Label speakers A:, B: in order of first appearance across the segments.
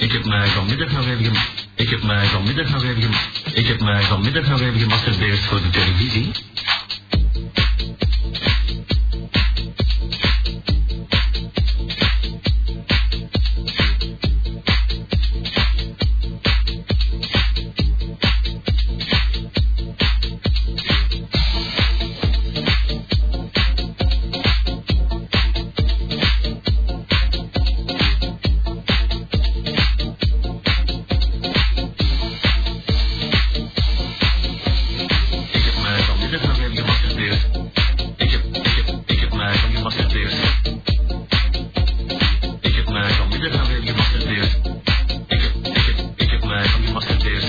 A: Ik heb mij vanmiddag nog even gem- Ik heb mij vanmiddag nog even gem- Ik heb mij vanmiddag nog even gemasturbeerd voor de televisie. Ik heb mij vanmiddag nog even gemasturbeerd. Ik heb, ik heb, ik heb mij van gemasturbeerd. Ik heb mij vanmiddag nog even gemasturbeerd. Ik heb, ik heb, ik heb mij van gemasturbeerd.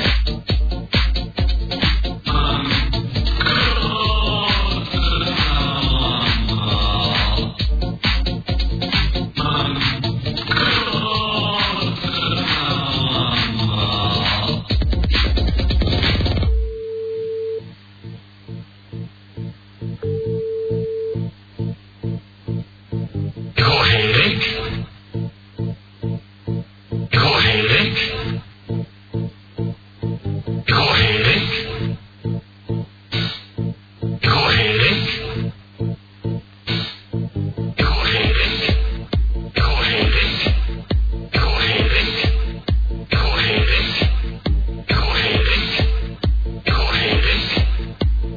B: Ik hoor geen reek. Ik hoor geen reek. Ik hoor geen reek. Ik hoor geen reek. Ik hoor geen reek. Ik hoor geen reek. Ik hoor geen reek. Ik hoor geen reek. Ik hoor geen reek. Ik hoor geen reek. Ik hoor geen reek.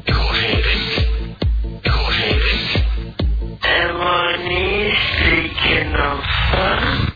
B: Ik hoor geen reek.
C: Emily speaking of fun.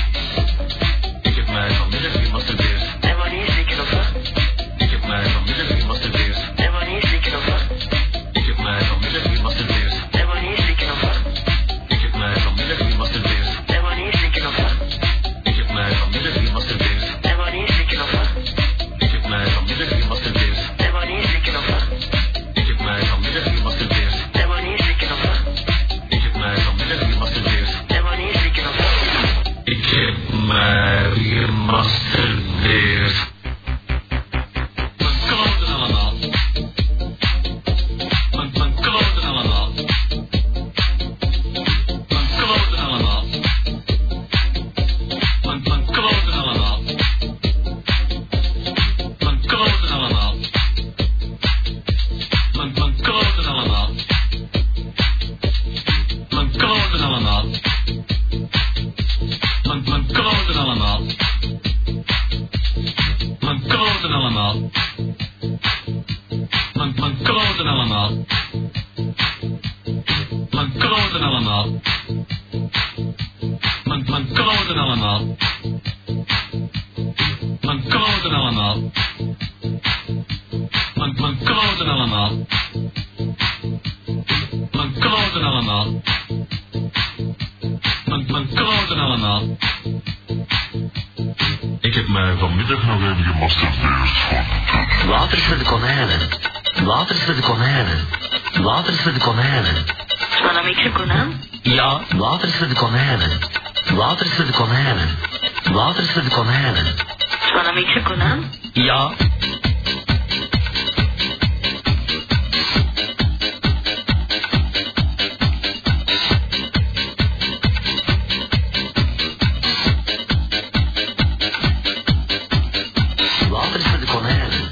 A: Ik heb mij vanmiddag gemasturbeerd.
C: Emily speaking of fun.
A: Ik heb mij vanmiddag gemasturbeerd.
C: Emily speaking of fun.
A: Ik heb mij vanmiddag gemasturbeerd.
C: Emily speaking of fun.
A: Ik heb mij vanmiddag gemasturbeerd.
C: Emily speaking of fun.
A: Ik heb mij vanmiddag gemasturbeerd.
C: Emily speaking of fun.
A: Ik heb mij vanmiddag gemasturbeerd.
C: Emily speaking of fun.
A: Ik heb mij vanmiddag gemasturbeerd.
C: Emily speaking of fun.
A: Ik heb mij vanmiddag gemasturbeerd.
C: Emily speaking of fun.
A: Ik heb mij gemasturbeerd. Mijn koden allemaal. Mijn, mijn koden allemaal. Mijn koden allemaal. Mijn, mijn koden allemaal. Mijn koden allemaal. Mijn, mijn koden allemaal. Mijn koden allemaal. Mijn, mijn kloten allemaal. Mijn kloten allemaal. Mijn, mijn kloten allemaal. Mijn kloten allemaal. Mijn, mijn kloten allemaal. Mijn kloten allemaal. Mijn, mijn kloten allemaal. Mijn kloten allemaal. Mijn, mijn kloten allemaal. Ik heb mij vanmiddag nog even gemasturbeerd.
B: Water is voor de konijnen. Water is voor de konijnen. Water is voor de konijnen.
C: Maar dan weet je konan.
B: Ja, water is voor de konijnen. Water is voor de konijnen. Water is voor de konijnen.
C: Maar dan weet je konan.
B: Ja. Water is voor de konijnen.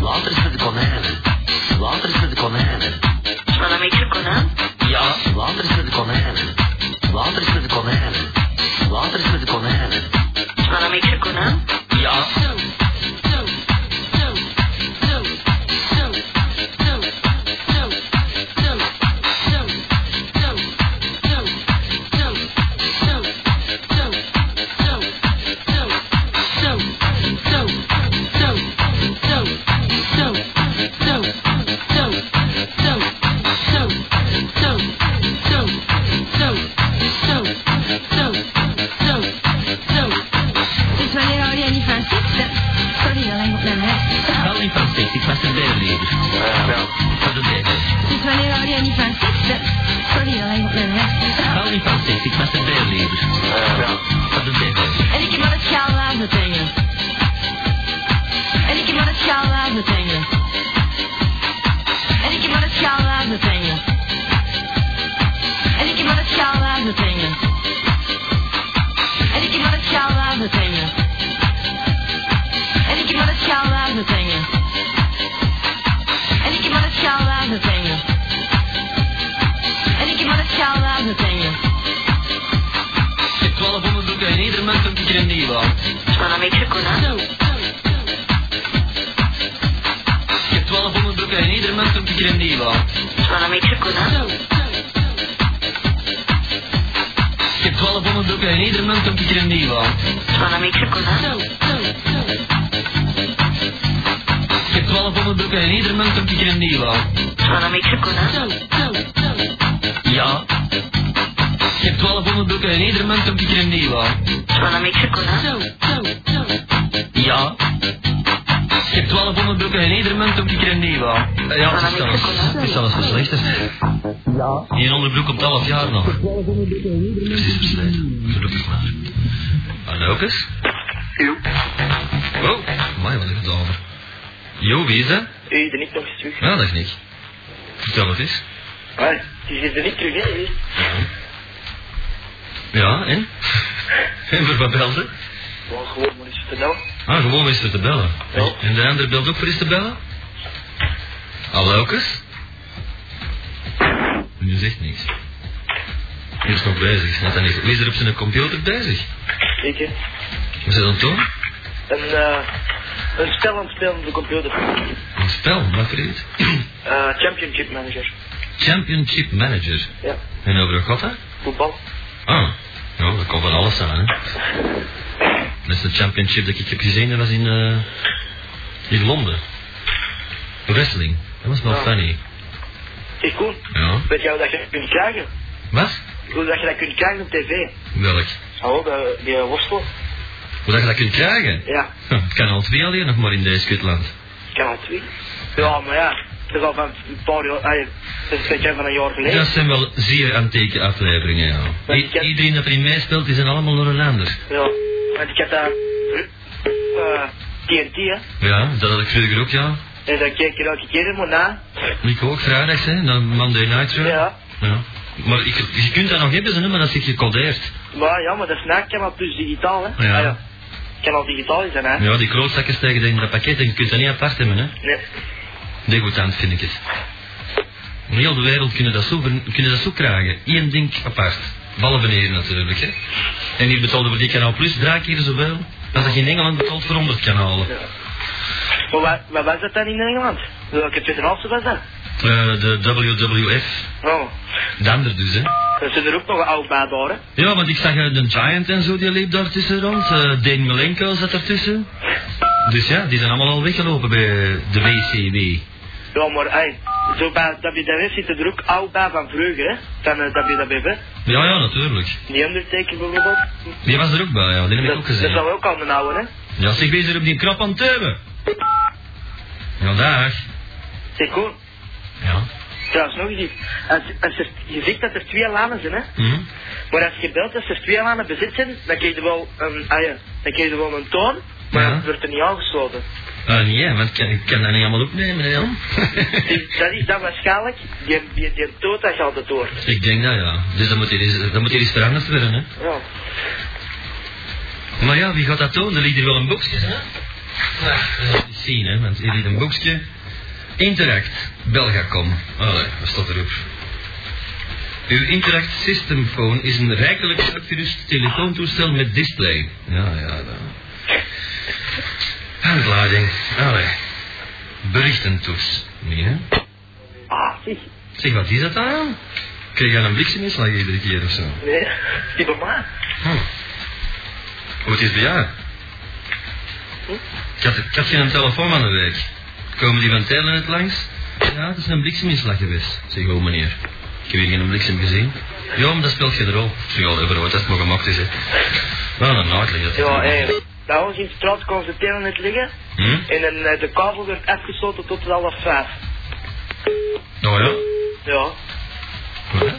B: Water is voor de konijnen. Water is voor de konijnen.
C: Maar dan weet je konan.
B: Ja, water is voor de konijnen. Water is voor de konijnen. Water is voor de konijnen.
C: Maar dan weet je konan.
B: Ja.
C: Zo, zo,
A: baby. Voor de baby.
D: Dus wanneer hou jij niet van seks? Dat- Sorry, alleen op mijn rechts.
A: Ik hou niet van seks, ik masturbeer liever. Voor de baby.
D: En ik heb aan het schaal aan het hangen. En ik heb aan het schaal aan het hangen. En ik heb aan het schaal aan het hangen. En ik heb aan het schaal aan het hangen. En ik heb aan het schaal aan het hangen. En ik heb aan het schaal aan het hangen. En ik heb aan het schaal aan het hangen. En ik heb aan het schaal aan het hangen.
A: Ik heb 12 onderbroeken en ieder mens een keer een nieuwe aan.
C: Esplaname Chicona.
A: Ik heb 12 onderbroeken en ieder mens een keer een nieuwe aan.
C: Esplaname Chicona.
A: Ik heb 12 onderbroeken en ieder mens een keer een nieuwe aan.
C: Esplaname Chicona.
A: Ik heb 12 onderbroeken en ieder mens een keer een nieuwe aan.
C: Esplaname Chicona.
A: Ja. Ik heb 12 onderbroeken en ieder mens een keer een nieuwe aan.
C: Esplaname Chicona.
A: Ja. Ik heb 12 onderbroeken en ieder munt op die keer een nieuwe. Eh, Ja, het is zelfs, het is zelfs verslechterd. Ja. Eén onderbroek op het half jaar nog. Precies versleten. Gelukkig maar. nou, Hallo, ook eens?
E: Jo,
A: Wow, mooi Oh, wat is het over. Jo, wie is dat?
E: u ben ik nog eens terug.
A: Ja, dat is niks. Vertel wat is.
E: Maar, dus ben ik terug, hè?
A: Ja, en? En voor wat belde?
E: Gewoon, gewoon, maar eens vertellen.
A: Ah, gewoon is er te bellen.
E: Ja.
A: En de ander belt ook voor eens te bellen? Hallo, ook eens? Je zegt niks. Die is nog bezig, snap dat niet. Wie is er op zijn computer bezig?
E: Ik, hè?
A: Is dat een toon?
E: Een, eh, een spel aan het spelen op de computer.
A: Een spel, wat voor iets?
E: Eh, championship manager.
A: Championship Manager.
E: Ja,
A: En over wat gaat dat?
E: voetbal.
A: Ah, ja, dat komt van alles aan, hè. Dat is de championship dat ik heb gezien, dat was in, eh, in Londen. Wrestling. Dat was wel
E: Ja.
A: funny.
E: Ik goed.
A: Ja.
E: Weet jij hoe dat je dat kunt krijgen?
A: Wat?
E: Hoe dat je dat kunt krijgen op tv?
A: Welk?
E: Hallo, de, die eh, worstel?
A: Hoe dat je dat kunt krijgen?
E: Ja,
A: Huh, Het kan al twee alleen nog maar in deze Schotland.
E: kanaal 2. Ja, maar ja, dat is al van een paar jaar, ay, dat is zeker van een jaar geleden.
A: Dat zijn wel zeer antieke afleveringen, ja.
E: Maar
A: I-
E: ik heb-
A: iedereen dat erin meespeelt, die zijn allemaal door een ander.
E: Ja, want ik had daar, eh, TNT, hè?
A: Ja, dat had ik vroeger ook, ja.
E: En dan keek je elke keer helemaal na.
A: Ik ook, vrijdags, hè, dan Monday Night Show.
E: Ja.
A: Ja. Maar ik, je kunt dat nog hebben, ze nummer, dat zit gecodeerd.
E: Maar ja, maar dat is na Kanaal Plus digitaal, hè?
A: Ja.
E: Ah, Kanaal digitaal is dat, hè?
A: Ja, die klootzakken steken dat in dat pakket en je kunt dat niet apart hebben, hè.
E: Nee.
A: Degoutant vind ik het. In heel de wereld kunnen dat zo, kunnen dat zo krijgen. Eén ding apart. Behalve hier natuurlijk, hè. En hier betaalden we die kanaal plus drie keer zoveel als dat je in Engeland betaalt voor 100 kanalen.
E: Ja. Maar waar, waar was dat dan in Engeland? Welke tweede helft was dat?
A: Eh, de WWF.
E: Oh,
A: De ander dus, hè.
E: dan zijn er ook nog een oud bij daar, hè?
A: Ja, want ik zag eh, de Giant en zo, die liep daar tussen rond. Eh Dane Melenko zat ertussen. Dus ja, die zijn allemaal al weggelopen bij de WCW.
E: Ja, maar hey, zo bij WWF zitten er ook oud bij van vroeger, hè? Van uh, WWF.
A: Ja, ja, natuurlijk.
E: Die Undertaker bijvoorbeeld.
A: Die was er ook bij, ja. Die heb ik ook
E: Dat, dat
A: gezien.
E: is al ook aan de oude, hè?
A: Ja, zeg, wees er op die krap aan het teumen. Ja, dag.
E: Zeg gewoon,
A: Ja.
E: trouwens nog eens iets. Als, als er, je ziet dat er twee lanen zijn, hè?
A: Hm?
E: Maar als je belt, als er twee lanen bezit zijn, dan krijg je wel een, ah ja, dan krijg je wel een toon, maar
A: Ja.
E: het wordt er niet aangesloten.
A: Ah, nee, want ik kan, ik kan dat niet allemaal opnemen, hè, Jan?
E: Dus dat is dan waarschijnlijk, die, die, die Tota toon dat je altijd hoort.
A: ik denk dat, ja. Dus dan moet hier iets, dan moet hier iets veranderd worden, hè.
E: Ja.
A: Maar ja, wie gaat dat tonen? Er ligt hier wel een boekje, hè? Nou, dat is niet zien, hè, want hier ligt een boekje. Interact, Belgacom. Allee, wat staat erop? Uw Interact System Phone is een rijkelijk uitgerust telefoontoestel met display. Ja, ja, ja. Handleiding, allee. Berichtentoets. Nee, hè?
E: Ah, zie.
A: Zeg, wat is dat dan? aan? Krijg je een blikseminslag iedere keer of zo?
E: Nee, die bij mij.
A: Hm. Hoe het is bij jou? Ik had, ik had geen telefoon van de week. Komen die van Telenet langs? Ja, het is een blikseminslag geweest. Zeg, oh meneer, ik heb hier geen bliksem gezien. Ja, maar dat speelt geen rol. Ik Zeg, oh, dat het maar gemakkelijk is, hè. Wel een uitleg dat.
E: Ja, hé. Nou, als je in de straat komt, ze tellen het liggen.
A: Hm?
E: En een, eh, de kabel werd afgesloten tot half vijf.
A: Oh ja?
E: Ja.
A: Ja.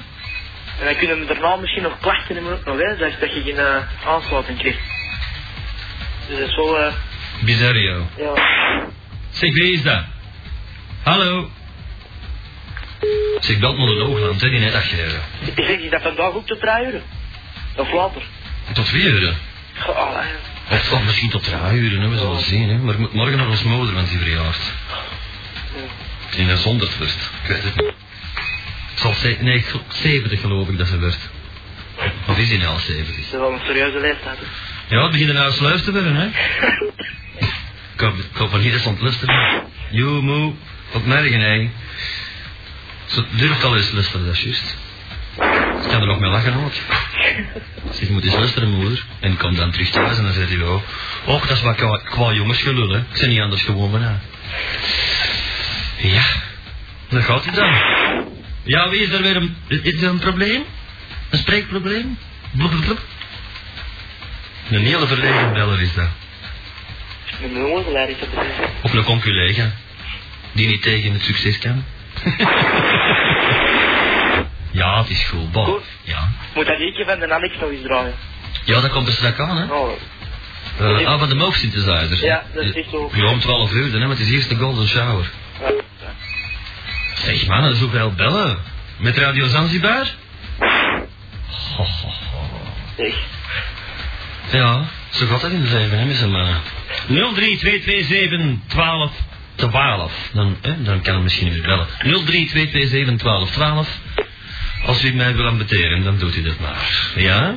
E: En dan kunnen we daarna misschien nog klachten hebben ook nog, hè, dat, dat je geen eh, aansluiting krijgt. Dus dat is wel, eh,
A: Bizarrio.
E: ja.
A: Zeg, wie is dat? Hallo? Zeg, belt me de Oogland, hè, die net afgereden.
E: Zeg je dat vandaag ook tot drie uur? Of later?
A: Tot vier uur. hè?
E: Goh, allee.
A: Of, of misschien tot drie uur, hè, we zullen zien. Hè. Maar ik moet morgen naar ons moeder, want die verjaart. In de zonderd werd. Ik weet het niet. Zal ze, nee, gel- 70 geloof ik dat ze werd. Of is die nou al 70?
E: dat is wel een serieuze leeftijd. dus. hè.
A: Ja, het begint nou eens luif te worden, hè? Ik hoop, ik hoop van hier is ontlusten. Joe, moe, op mergen, hè? Ze durft al eens lusten, dat is juist. Ik kan er nog mee lachen, hoor. Zeg, je moet eens luisteren, moeder. En kom dan terug thuis en dan zegt hij wel... Och, dat is wat kwa, kwa jongens gelul, hè. Ik ben niet anders gewoon, maar nou." Ja, daar gaat hij dan. Ja, wie is er weer een... Is is er een probleem? Een spreekprobleem? Blub, blub, blub. Een hele verlegen beller is dat.
E: Met mijn jongens leid ik dat precies.
A: Of een conculega. Die niet tegen het succes kan. ja, het is goed. Bon.
E: Goed.
A: Ja.
E: Moet dat eentje van de Annex nog eens draaien?
A: ja, dat komt er straks aan, hè.
E: Nou,
A: Eh, ah, van de Moog synthesizer.
E: Ja, dat is echt zo.
A: Ja, om 12 uur, dan, hè, want het is eerst de Golden Shower.
E: ja.
A: Zeg, man, dat is hoeveel bellen? Met Radio Zanzibar? Ho, ho, ho.
E: Zeg.
A: Ja, zo gaat dat in de leven, hè, met z'n mannen. 03227 12 12. Dan, hè, dan kan hij misschien weer bellen. 03227 12 12. Als u mij wil ambeteren, dan doet u dat maar. Ja?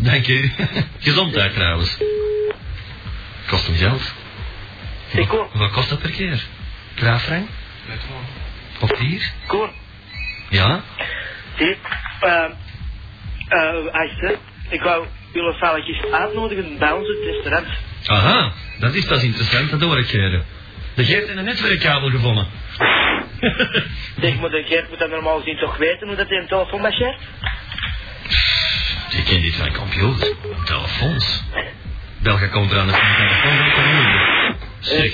A: Dank u. Gezondheid trouwens. Kost hem geld.
E: Zeg, Koen.
A: Wat kost dat per keer? Kraafrang? Of hier?
E: Koen.
A: Ja?
E: Zie, eh, eh, echt, hè. Ik wou jullie vrouwtjes uitnodigen bij ons in het restaurant.
A: Aha, dat is pas interessant, dat hoor ik Gerrit. De Geert in een netwerkkabel gevonden.
E: Zeg, maar de Geert moet dat normaal gezien toch weten hoe dat hij een telefoon marcheert?
A: Ik ken dit van computers, telefoons. Belga komt eraan, dat is een telefoon dat ik kan noemen. Zeg.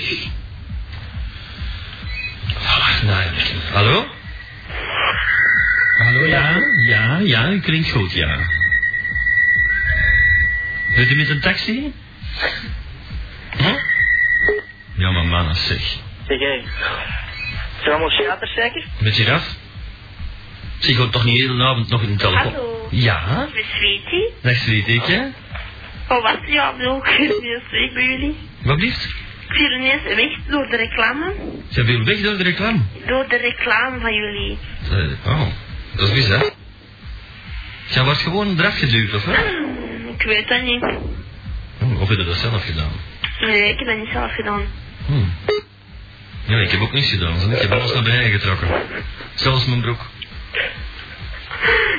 A: Ah, nou ja. Hallo? Hallo, ja? Ja, ja, u klinkt goed, ja. Wilt u met een taxi? Huh? Ja, maar mannen, zeg.
E: Zeg, hé. Zijn allemaal schaters zeker?
A: Met je af? Zeg, hoort toch niet de hele avond nog in de telefoon?
C: Hallo.
A: Ja?
C: Met Sweetie.
A: Dag, sweetie.
C: Oh, wat? Ja, wil ik hier niet eens bij jullie.
A: Wat blieft?
C: Ik viel ineens weg door de reclame.
A: Ze wil weg door de reclame.
C: Door de reclame van jullie.
A: Eh, oh, dat is bizar. Jij wordt gewoon eraf geduwd, of wat?
C: Hmm, Ik weet dat niet.
A: Oh, Of heb je dat zelf gedaan?
C: Nee, ik heb dat niet zelf gedaan.
A: Hm. Ja, ik heb ook niks gedaan. zeg. Ik heb alles naar beneden getrokken. Zelfs mijn broek.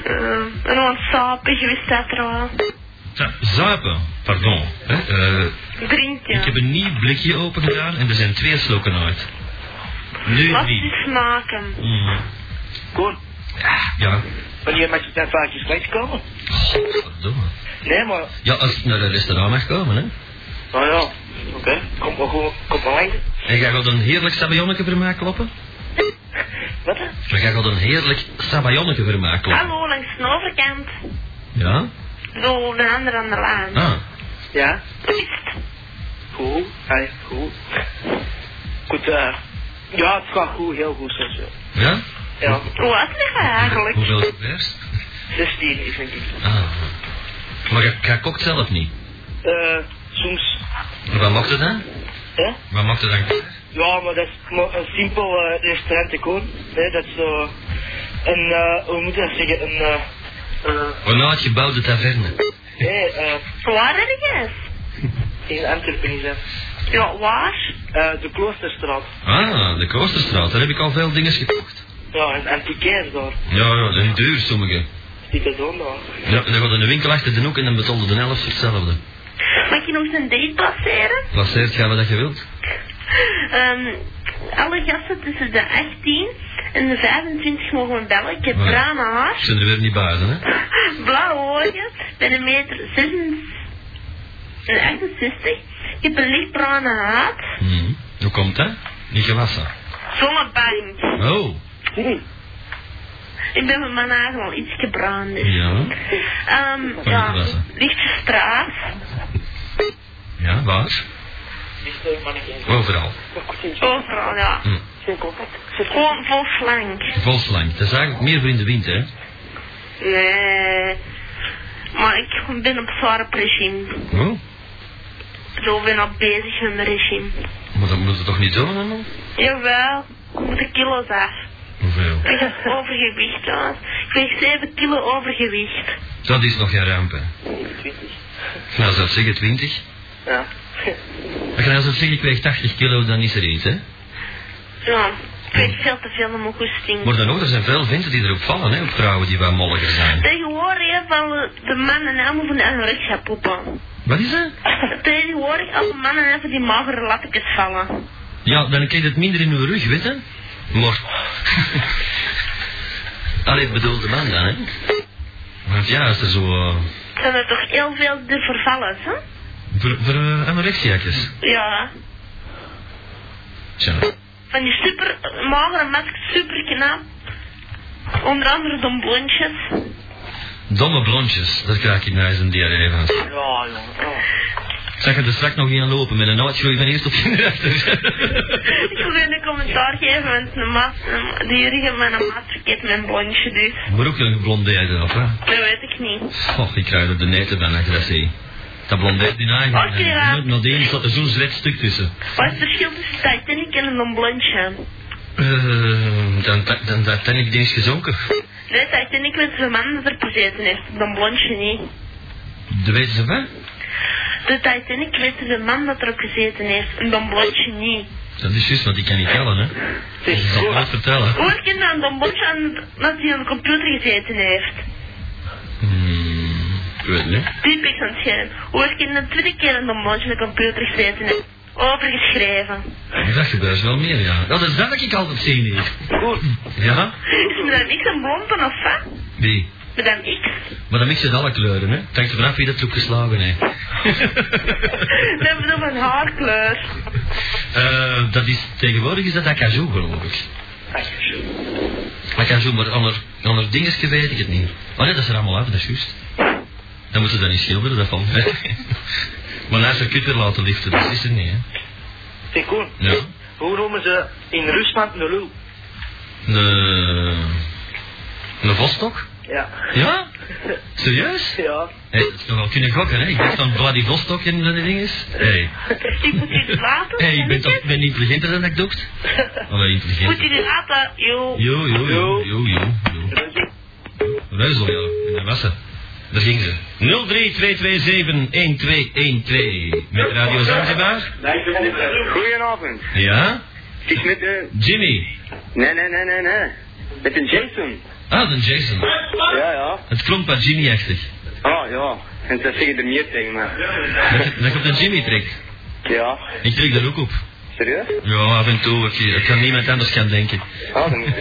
C: Uh, en wat sapen, je wist dat er al.
A: Ja, zuipen, pardon. Hè? eh,
C: Drinken.
A: Ik heb een nieuw blikje open gedaan en er zijn twee slokken uit. Nu
C: Wat
A: drie.
C: is maken?
A: Hm.
E: Koen,
A: Ja,
E: wanneer mag je dan vaakjes langskomen?
A: godverdomme.
E: Nee, maar...
A: Ja, als ik naar een restaurant mag komen, hè.
E: Nou ja, oké. Kom maar goed, kom maar langs.
A: En ga gaat een heerlijk sabajonnetje voor mij kloppen?
E: Wat? hè?
A: Dan ga gaat een heerlijk sabajonnetje voor mij kloppen.
C: Hallo, langs de overkant.
A: Ja?
C: Door de andere aan de laan.
A: Ah.
E: Ja?
C: Pst.
E: Goed. Allee, goed. Goed, eh... Ja, het gaat goed, heel goed zelfs. ja.
A: Ja?
E: Ja,
C: Wat is dat eigenlijk?
A: Hoeveel gebeurt?
E: 16 is denk ik.
A: Ah. Maar jij, jij kookt zelf niet.
E: Eh, soms...
A: Maar wat mocht het dan?
E: Hè?
A: Wat mocht het dan?
E: Ja, maar dat is maar een simpel eh, restaurant te koop. Hè? Dat is zo... Een, eh, hoe moet je dat zeggen? Een... eh, eh,
A: Een uitgebouwde taverne.
E: Hé, eh,
C: Waar heb je het?
E: in Antwerpen is dat.
C: Ja, waar?
E: Eh, de Kloosterstraat.
A: Ah, de Kloosterstraat. Daar heb ik al veel dingen gekocht.
E: Ja, een antiquaire daar.
A: Ja, ja, en duur sommige.
E: Die dat doen daar.
A: Ja, en dan gaat een winkel achter de hoek en dan betaalde de helft voor hetzelfde.
C: Mag je nog eens een date placeren?
A: Placeert jij wat dat je wilt?
C: Ehm, alle gasten tussen de 18 en de 25 mogen me bellen. Ik heb
A: Ja.
C: bruine
A: Ik
C: haar,
A: ben er weer niet buiten, hè?
C: blauwe ogen, ben een meter 66 en 68. Ik heb een lichtbruine huid.
A: Hm. Hoe komt dat? Niet gewassen.
C: Zonnebank.
A: Oh.
C: Ik ben met mijn haar wel iets gebruind. Dus.
A: Ja.
C: Ehm,
A: je
C: ja,
A: terrassen.
C: lichte straat.
A: Ja, waar? Overal.
C: Overal, ja.
A: Hm.
C: Gewoon vol slank.
A: Vol slang. Dat is eigenlijk meer voor in de wind, hè?
C: Nee. Maar ik ben op zware regime.
A: Oh.
C: Zo ben ik bezig met mijn regime.
A: Maar dat moet het toch niet zo allemaal?
C: Jawel, ik de kilo's af.
A: Hoeveel?
C: Ik heb overgewicht, jongens. Ik weeg 7 kilo overgewicht.
A: Dat is nog geen ramp, hè? Nou, zou ik zeggen 20.
F: Ja.
A: Als je nou zou zeggen, ik weeg 80 kilo, dan is er iets, hè?
C: Ja, ik weeg veel te veel om mijn goesting.
A: Maar dan ook, er zijn veel venten die erop vallen, hè? Op vrouwen die wat molliger zijn.
C: Tegenwoordig vallen de mannen allemaal van de anorexia poepen.
A: Wat is dat?
C: Tegenwoordig alle mannen even die magere lapjes vallen.
A: Ja, dan krijg je het minder in uw rug, weet je? Maar... Allee, ik bedoel de man dan, hè? Want ja, als er zo... eh,
C: Zijn er toch heel veel de vervallers, hè?
A: Voor, voor eh, anorexiakjes.
C: Ja.
A: Tja.
C: Van die super magere maskers, super knap. Onder andere de blondjes.
A: Domme blondjes, daar krijg ik nou eens een diarree van.
F: Ja, jongen. Ja.
A: Zeg je er straks nog niet aan lopen met een uitgroei van eerst tot kinder achter.
C: Ik wil een commentaar geven, want een maat, een- de Jurgen met een maat verkeert mijn blondje, dus.
A: maar ook een blondeerde op, hè?
C: Dat weet ik niet.
A: Och, ik krijg er de neten van, als je dat ziet. Dat blondeert in eigen.
C: Oké, ja.
A: Nog- Nog één zat er zo'n zwet stuk tussen.
C: Wat is het verschil tussen Titanic en een blondje?
A: Eh, dan, dan, dan, dan ben ik eens gezonken.
C: Nee, Titanic werd een man dat er gezeten heeft, dan blondje niet.
A: De weten ze van?
C: De Titanic weet de man dat erop gezeten heeft, en Don Bosje niet.
A: Dat is juist, want ik kan niet tellen, hè. Ik zal het nooit vertellen.
C: Hoe herkent dan Don Bosje aan dat hij aan de computer gezeten heeft?
A: Hmm, ik weet het niet.
C: Typisch aan het scherm. Hoe herkent de tweede keer aan Don Bosje aan de computer gezeten heeft? Overgeschreven.
A: Maar Dat gebeurt wel meer, ja. Nou, dat is dat wat ik altijd zie hier. Ja?
C: Is Madame X een blonde of wat?
A: Wie?
C: Madame X?
A: Maar dan mixen ze alle kleuren, hè. Het hangt er vanaf wie dat troep geslagen heeft.
C: We hebben nog een haarkleur.
A: Eh, dat is, tegenwoordig is dat acajou, geloof ik. Acajou, maar ander, ander dingetje weet ik het niet. Oh nee, dat is er allemaal af, dat is juist. Dan moeten ze dat niet schilderen, dat valt mee. Maar naast de kutter laten liften, dat is er niet, hè.
F: Zeg, Koen,
A: Ja.
F: Hoe noemen ze in Rusland een lul?
A: Een... Een vostok?
F: Ja.
A: Ja? Serieus?
F: Ja.
A: Hé, dat is nog wel kunnen gokken, hè? Ik dacht aan Vladivostok en dat ding is. Hé, hey.
C: Ik moet iets laten.
A: hey, ik ben toch ben intelligenter dan ik dacht? Allee,
C: Moet
A: intelligenter.
C: je dit laten? Yo.
A: Jo, jo, jo, jo, jo. jo. Ruizel, ja, in de wassen. Daar ging ze. 03227-1212. Met Radio Zanzibar?
F: Goedenavond.
A: Ja?
F: Het is met de...
A: Jimmy.
F: Nee, nee, nee, nee, nee. Met de Jason.
A: Ah, dan Jason.
F: Ja, ja.
A: Het klonk wat Jimmy-achtig.
F: Ah, ja. En ze zeggen er meer tegen me.
A: Dat, je- dat je op de Jimmy trekt.
F: Ja.
A: Ik trek daar ook op.
F: Serieus?
A: Ja, af en toe. Ik, ik kan niemand anders gaan denken.
F: Ah, dan moet ik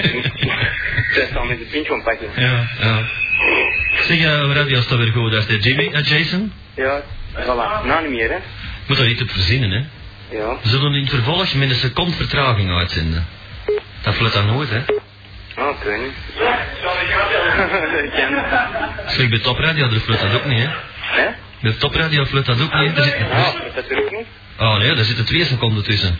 F: het zal met de pintje van pakken.
A: Ja, ja. Zeg, eh, radio is toch weer goed uit, hè? Jimmy, eh, Jason?
F: Ja. Voilà. Nou niet meer, hè.
A: Moet daar niet op verzinnen, hè?
F: Ja.
A: We zullen in het vervolg met een seconde vertraging uitzenden. Dat fluit dan nooit, hè?
F: Ah, oh, ik weet niet. Dat kan.
A: Zeg, bij topradio daar fluit dat ook niet, hè?
F: Hè?
A: Bij topradio fluit dat ook niet. Er zit- er
F: Ah, dat doe ik niet.
A: zit- oh nee, daar zitten twee seconden tussen.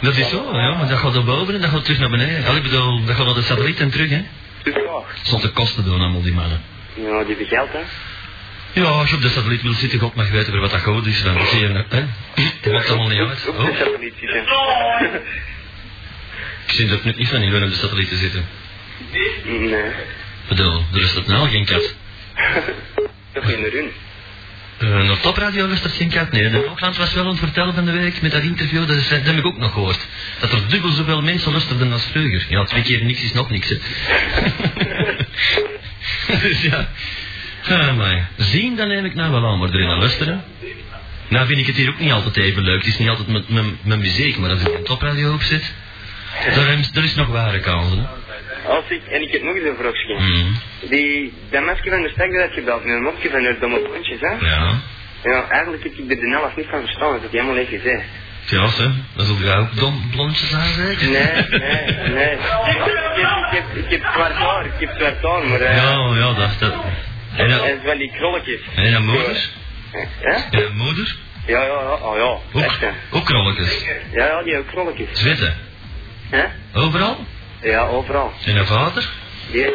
A: Dat is zo, ja, maar dat gaat naar boven en dat gaat terug naar beneden. Allee, Ik bedoel, dat gaat naar de satelliet en terug, hè?
F: Dus ja.
A: Zonder kosten doen, allemaal die mannen.
F: Ja, die begeld, hè.
A: Ja, als je op de satelliet wil zitten, God mag weten voor wat dat goed is, dan zie je dat, hè? Dat maakt allemaal niet uit.
F: Ook de
A: Oh.
F: satelliet zitten.
A: Ik zie dat nu niet van in om de satelliet te zitten.
F: Nee.
A: Ik bedoel, er is dat nou geen kat.
F: Toch in de run.
A: Uh, op topradio was er geen kat. Nee, de Hoogland was wel aan het vertellen van de week met dat interview. Dat, is, dat heb ik ook nog gehoord. Dat er dubbel zoveel mensen luisterden als vroeger. Ja, twee keer niks is nog niks, hè. dus ja. Ah, maar zien, dan neem ik nou wel aan, maar erin aan luisteren. Nou vind ik het hier ook niet altijd even leuk. Het is niet altijd met mijn- mijn muziek, maar als ik een topradio op zit, daar, is- daar is nog ware kans, hè.
F: Als ik, en ik heb nog eens een vraagje.
A: Mm,
F: Die, dat meisje van de stad dat had gebeld, met een mopje van haar domme hondjes, hè?
A: ja.
E: Ja, eigenlijk heb ik er de helft niet van verstaan, dat heb je helemaal niet gezegd.
A: Ja, hè. Dan zult jij ook don- blondjes aan zeker?
E: Nee, nee, nee. Ik heb, ik heb, ik heb zwart haar, ik heb zwart haar, maar... eh,
A: Ja, ja, dat... dat. En
E: dat
A: dan,
E: is wel die krolletjes.
A: en dan moeder?
E: Ja?
A: En dan moeder?
E: Ja, ja, ja, oh ja,
A: Ook,
E: echt hè.
A: ook krolletjes.
E: Ja, ja, die ook krolletjes.
A: Zwitten.
E: Hè?
A: Overal?
E: Ja, overal.
A: En haar vader?
E: Die,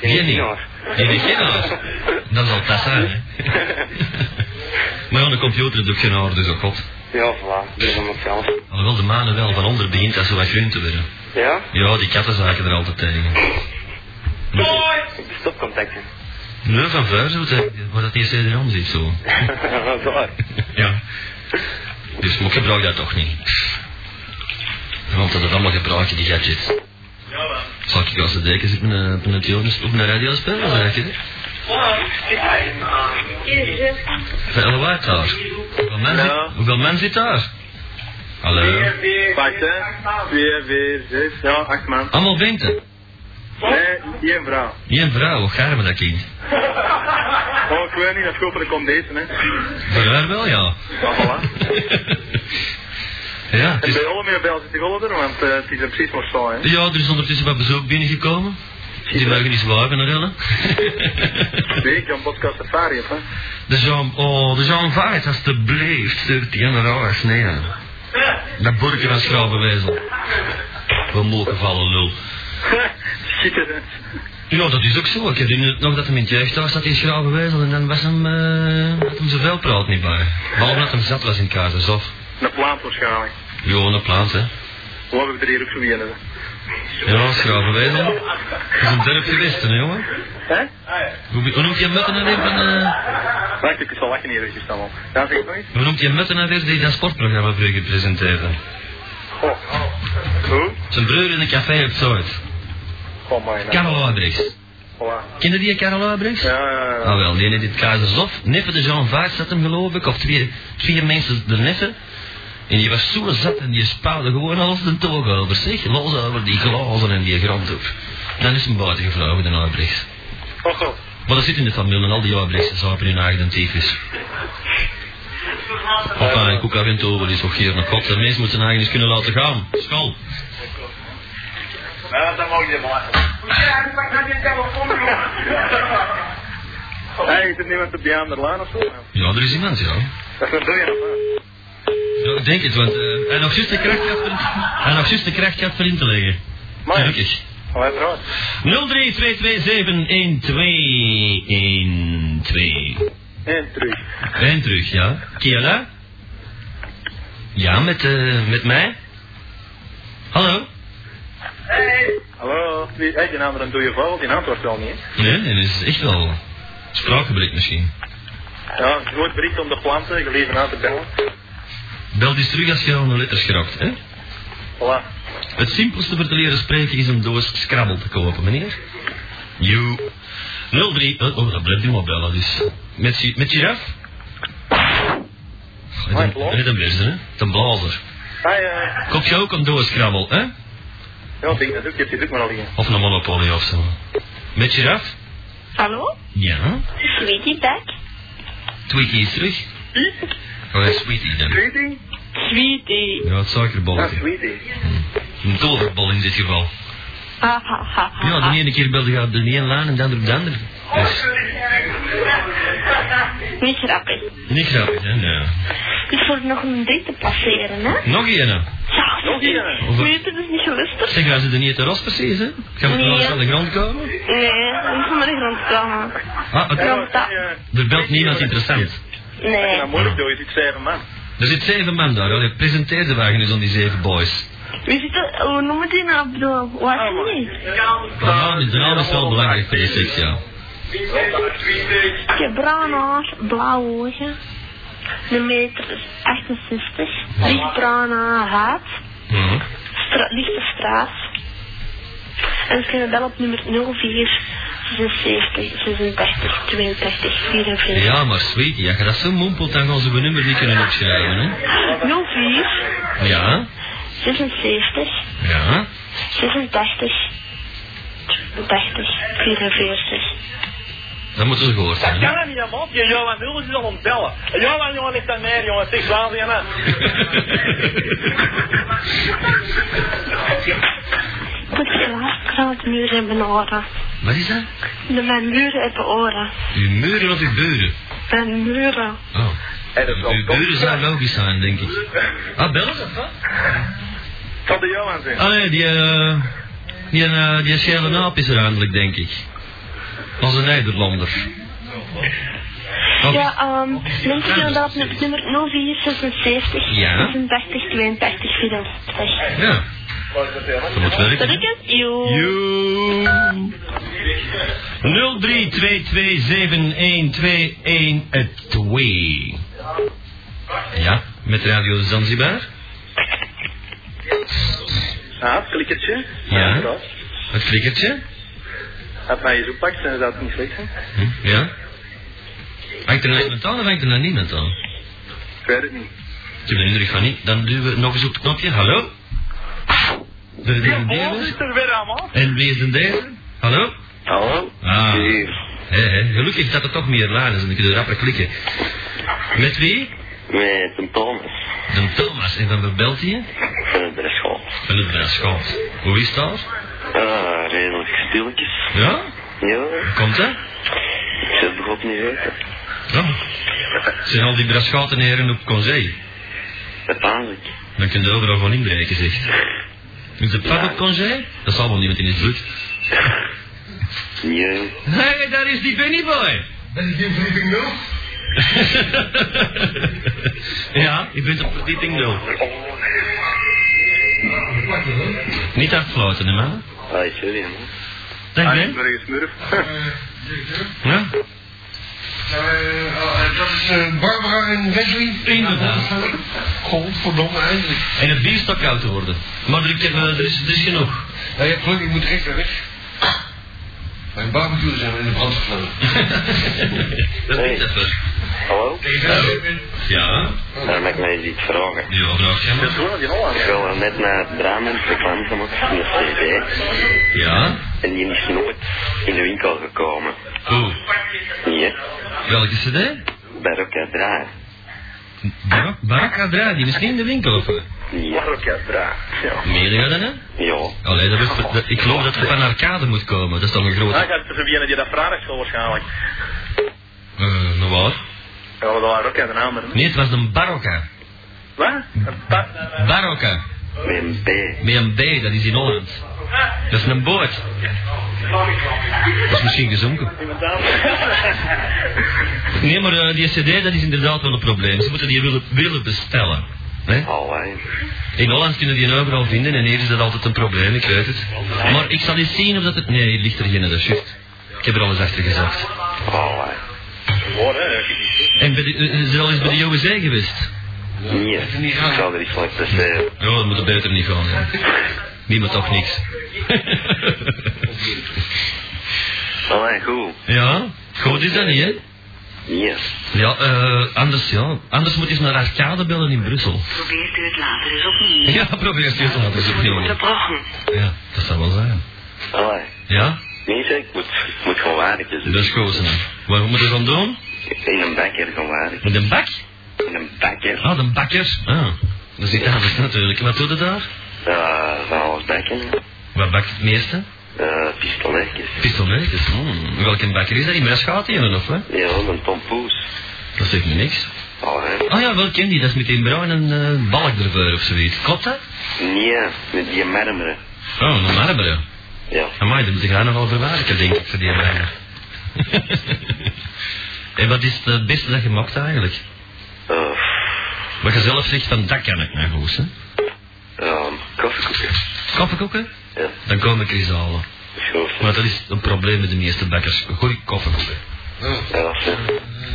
A: Die niet.
E: haar.
A: Die heeft geen haar. Dat zal dat zijn, hè. Maar ja, de computer doet geen haar, dus ook god.
E: Ja, voilà, dus om zelf.
A: Alhoewel de manen wel van onder begint dat ze wat groen te worden.
E: Ja?
A: Ja, die katten zaken er altijd tegen.
E: De stopcontacten.
A: Nee, van vuil zo, waar dat eerst wederom zit zo.
E: Daar.
A: Ja. Dus maar ik gebruik dat toch niet. Want dat het allemaal gebruiken, die gadgets. Zal ik als de deken zitten met een- met een tjonus op een radio spelen, zeg je? hè? Van Elle White daar. Hoeveel men,
E: Ja.
A: zit, hoeveel men zit daar? Hallo.
E: Wacht hè. 2, 4, 6, ja, 8 man.
A: Allemaal venten.
E: Nee, één vrouw.
A: Je een vrouw, hoe gaar met dat kind?
E: Oh, ik weet niet, dat koper komt deze, hè.
A: Voor haar wel, ja.
E: Ja, voilà.
A: ja,
E: En
A: dus,
E: bij Olmeer bij zit ik wel er, want eh, het is er precies maar zo, hè.
A: ja, er is ondertussen wat bezoek binnengekomen. Die mogen niet slapen, naar Ellen.
E: Nee, ik heb een podcast safari, hè.
A: De Jean, oh, de Jean Vaart, alstublieft, stuurt die aan de raars neer. Dat burger van Schravenwezel. We mogen vallen, lul.
E: Schitterend.
A: Ja, dat is ook zo. Ik herinner het nog dat hem in het jeugdhuis zat in Schravenwezel en dan was hem, eh, had hem zoveel praat niet bij. Behalve dat hem zat was in Kaarsen, of.
E: Een plaat waarschijnlijk.
A: Ja, een plaat, hè.
E: Hoe hebben we er hier ook zo mee hebben?
A: Ja, Schravenwezel. Dat is een dorp geweest, hè, jongen.
E: Hè?
A: Hoe, hoe noemt je mutten alweer van, eh,
E: Wacht, ik zal lachen hier eventjes dan al. Ja, zeg ik nog iets?
A: hoe noemt je mutten alweer die dat sportprogramma vroeger presenteerde?
E: Oh. Hoe?
A: Zijn broer in een café op Zout.
E: Oh, mijn
A: Karel Albrechts.
E: Voilà.
A: Ken je die Karel Albrechts?
E: Ja, ja,
A: Ah
E: ja.
A: wel, die in dit Kaizershof, neffen de Jean Vaart zat hem geloof ik, of twee, twee mensen de neffen. En die was zo zat en die spouwde gewoon alles de toog over zich, los over die glazen en die grond op. Dan is hem buiten gevlogen, de Albrechts.
E: Oh, oh.
A: Maar dat zit in de familie, en al die Albrechtsen slapen hun eigen tyfus. Papa, ik ook af en toe wel eens nog hier naar kop. De mensen moeten eigen eens kunnen laten gaan. School.
E: Ja, Nou, dat mag je wel. Hey, is er niemand op die andere lijn of zo?
A: Ja, er is iemand, ja.
E: Dat doe je nog,
A: Ja, ik denk het, want eh, hij nog juist de kracht gehad voor in- hij nog juist de kracht gehad voor in te leggen.
E: Maar-
A: Gelukkig.
E: hè? Allee, Oh, eruit.
A: 032271212.
E: En terug.
A: En terug, ja. Kiela? Ja, met, eh, met mij? Hallo?
E: Hallo, wie, hey, die andere doe je vol, die antwoordt wel niet. hè?
A: Nee, dat is echt wel spraakgebrek misschien.
E: Ja, je wordt bericht om de planten, geleverd aan te bellen.
A: Bel eens terug als je aan de letters geraakt, hè?
E: Voilà.
A: Het simpelste voor te leren spreken is een doos Scrabble te kopen, meneer. You. 03... Oh, oh, dat blijft nu maar bellen, dus. Met, gi- met giraf? Met
E: Hoi,
A: een,
E: Paul.
A: met een beersen, hè? Met een blazer.
E: Hi, eh.
A: Koop je ook een doos Scrabble, hè?
E: ja, ik denk dat ook, je hebt dit ook maar al hier.
A: Of een Monopoly of zo. Met giraf?
C: Hallo?
A: Ja.
C: Sweetie Pack?
A: Tweety is terug.
E: Hm?
A: Oh, ja, Sweetie dan.
E: Sweetie?
C: Sweetie.
A: Ja, het
E: Ja,
A: suikerballetje.
E: sweetie.
A: Een toverbal in dit geval.
C: Ha, ha, ha, ha,
A: Ja,
C: ha.
A: de ene keer belde je op de ene laan en de andere op de andere.
E: Oh,
A: Dus,
C: Niet grappig.
A: niet grappig, hè? Nee.
C: Dus voor nog een date te passeren, hè?
A: Nog een.
C: Ja, nog
E: een.
A: Of-
C: Weet het is niet gelustig.
A: Zeg, wij zitten niet te ras precies, hè? Gaan we
C: Nee.
A: trouwens aan de grond komen?
C: Nee, niet van de grond komen.
A: Ah, het-
C: Ja.
A: er belt niemand interessant.
C: Nee.
E: Ja, moeilijk doe eh. je dit zeven man.
A: Er zit zeven man daar, allee, presenteer de wagen eens aan die zeven boys.
C: Wie zit er, hoe noemen die nou op de, hoe heet die?
A: De naam is, de naam is wel belangrijk, PSX, ja.
C: Ik heb bruin haar, blauwe ogen. Een meter is 68. Lichtbruin haar, haat.
A: Mhm.
C: Stra lichte straat. En ze kunnen bellen op nummer 04 76 86 82 44.
A: Ja, maar sweetie, als je dat zo mompelt, dan gaan ze hun nummer niet kunnen opschrijven, hè?
C: 04
A: Ja,
C: 76
A: ja.
C: 86 80 44.
A: Dat moeten ze gehoord
E: Dat
A: hebben. hè?
E: kan niet, hè, man. Je Johan Mulders is al ontbellen. Johan, jongen, ligt daar neer, jongen. Zeg, zwaar, jongen.
C: Ik moet je laatst muur hebben oren.
A: Wat is dat?
C: De mijn muren hebben oren.
A: Uw muren of uw beuren?
C: Mijn muren.
A: Oh.
G: En dat
A: Uw
G: zal
A: beuren
G: toch
A: zou logisch zijn, denk ik. Ah, bellen ze?
G: zal de Johan zijn.
A: Ah nee, die, eh die, eh die schele naap is er eindelijk, denk ik. Onze Nederlander. Oh,
C: Ja, ehm, neemt u dan op het nummer 0476
A: Ja.
C: 86 82 84.
A: ja. Dat moet werken.
C: Dat
A: hè?
C: ik het? Jo.
A: Joe. 0322712112. Ja, met Radio Zanzibar.
G: Ah, het klikkertje.
A: Ja.
G: dat.
A: Het flikkertje.
G: Had mij eens oppakt, dan zou het niet slecht zijn.
A: Hm, ja. Hangt er nou iemand aan of hangt er nou niemand aan?
G: Ik weet het niet.
A: Ik heb de indruk van niet. Dan duwen we nog eens op het knopje. Hallo? Er is een
E: Oh,
A: deel.
E: zit er weer aan, man.
A: En wie is een deel? Hallo?
G: Hallo?
A: Ah. Hé, hé, Gelukkig dat er toch meer dus laan is en ik kan rapper klikken. Met wie?
G: Met een Thomas
A: De Thomas. En van waar belt hij?
G: van de Dreschel.
A: Van het Braschans. Hoe is dat?
G: Ah, redelijk stilletjes.
A: Ja?
G: Ja,
A: Hoe komt dat?
G: ik zet begot niet weten.
A: Ja. Zijn al die Braschouten heren op congé?
G: Uiteindelijk.
A: Dan kun je overal gewoon inbreken, zegt. Is de pap op congé? Dat zal wel niemand in het bloed.
G: Ja.
A: Hé, hey, daar is die Benny Boy. Ben ik in verdieping 0? ja, je bent op verdieping 0. Niet afsluiten, hè, man.
G: Ah, sorry man.
A: Dag,
G: Ah, ik
A: Ben.
G: ben een smurf.
H: Eh,
A: Ja?
H: dat is eh, Barbara en Wesley.
A: Inderdaad.
H: eh, Godverdomme, eindelijk.
A: En het bier stak koud te worden. Maar ik heb, eh, er, is, er is genoeg.
H: Ja, je hebt geluk, ik moet recht naar weg. Mijn barbecue zijn in de brand gevlogen.
A: Dat
G: Hey.
A: is dat wel.
G: Hallo?
A: Ja,
H: Oh. Ah.
G: Daar mag ik mij eens iets vragen.
A: ja, vraag je maar.
G: Ik wil net naar Brahman reclame gemaakt van de CD.
A: Ja?
G: En die is nooit in de winkel gekomen.
A: Oeh,
G: Nee,
A: welke cd?
G: bij Rocket Draai.
A: Barak- Baraka Draai, die misschien in de winkel of wat?
G: Nee. Rocket Draai. Ja.
A: Meer dan hè?
G: Ja.
A: Allee, dat wordt- dat- ik geloof dat het van arcade moet komen. Dat is dan een grote...
G: Hij Ah, gaat er die dat vrijdag school waarschijnlijk.
A: Eh, nou waar?
G: Ja, dat waren Rocket en Hamer.
A: Nee, het was een Barokka.
G: Wat? Een pa-
A: Barokka.
G: Met een B.
A: Met een B, dat is in Holland. Dat is een boot. Dat is misschien gezonken. Nee, maar eh, die cd, dat is inderdaad wel een probleem. Ze moeten die willen, willen bestellen. Hè?
G: Allee.
A: In Holland kunnen die overal vinden en hier is dat altijd een probleem, ik weet het. Maar ik zal eens zien of dat het... Nee, hier ligt er geen, dat is juist. Ik heb er alles achter gezakt.
G: Allee. Hoor, hè?
A: En bij de, eh, eh, is er al eens bij de USA geweest?
G: Nee, ik zou er iets van presteren.
A: Ja, dat moet er beter niet gaan. hè. Niemand toch niks.
G: Allee, goed.
A: ja, goed is dat niet, hè?
G: Nee.
A: Ja, eh, anders ja. Anders moet je eens naar Arcade bellen in Brussel.
I: Probeert u het later eens opnieuw.
A: Ja, probeer het eens later eens opnieuw.
I: Onderbroken.
A: Ja, dat zou wel zijn.
G: Allee.
A: Ja?
G: Mensen, ik moet, ik moet gewoon waardigjes
A: Dat is goed, zeg. Wat moeten we gaan doen?
G: In een bakker gewoon waardigjes.
A: Met een bak?
G: In een bakker.
A: Ah, de bakker. Ah, dat zit anders natuurlijk. Wat doet het daar?
G: Eh, van alles bakken.
A: Wat bakt het meeste?
G: Eh, pistoletjes.
A: Pistoletjes. Hmm. Welke bakker is dat? In Braschatien of wat?
G: Ja, een Oh, tompoes.
A: Dat zegt me niks.
G: Allee.
A: Ah ja, wel ken die. Dat is met die bruin en eh, balk ervoor of zoiets. Klopt dat?
G: Nee, met die marmeren.
A: Oh, een marmeren.
G: Ja.
A: Amai, daar moet ik haar nog wel verwerken, denk ik, voor die bijna. en wat is het eh, beste dat je maakt eigenlijk?
G: Eh,
A: Wat je zelf zegt, van dat kan ik nou goed, hè?
G: ehm, koffiekoeken.
A: Koffiekoeken?
G: Ja,
A: Dan komen krisalen.
G: is goed.
A: Maar dat is een probleem met de meeste bakkers. Goeie koffiekoeken.
G: Ja, dat is het.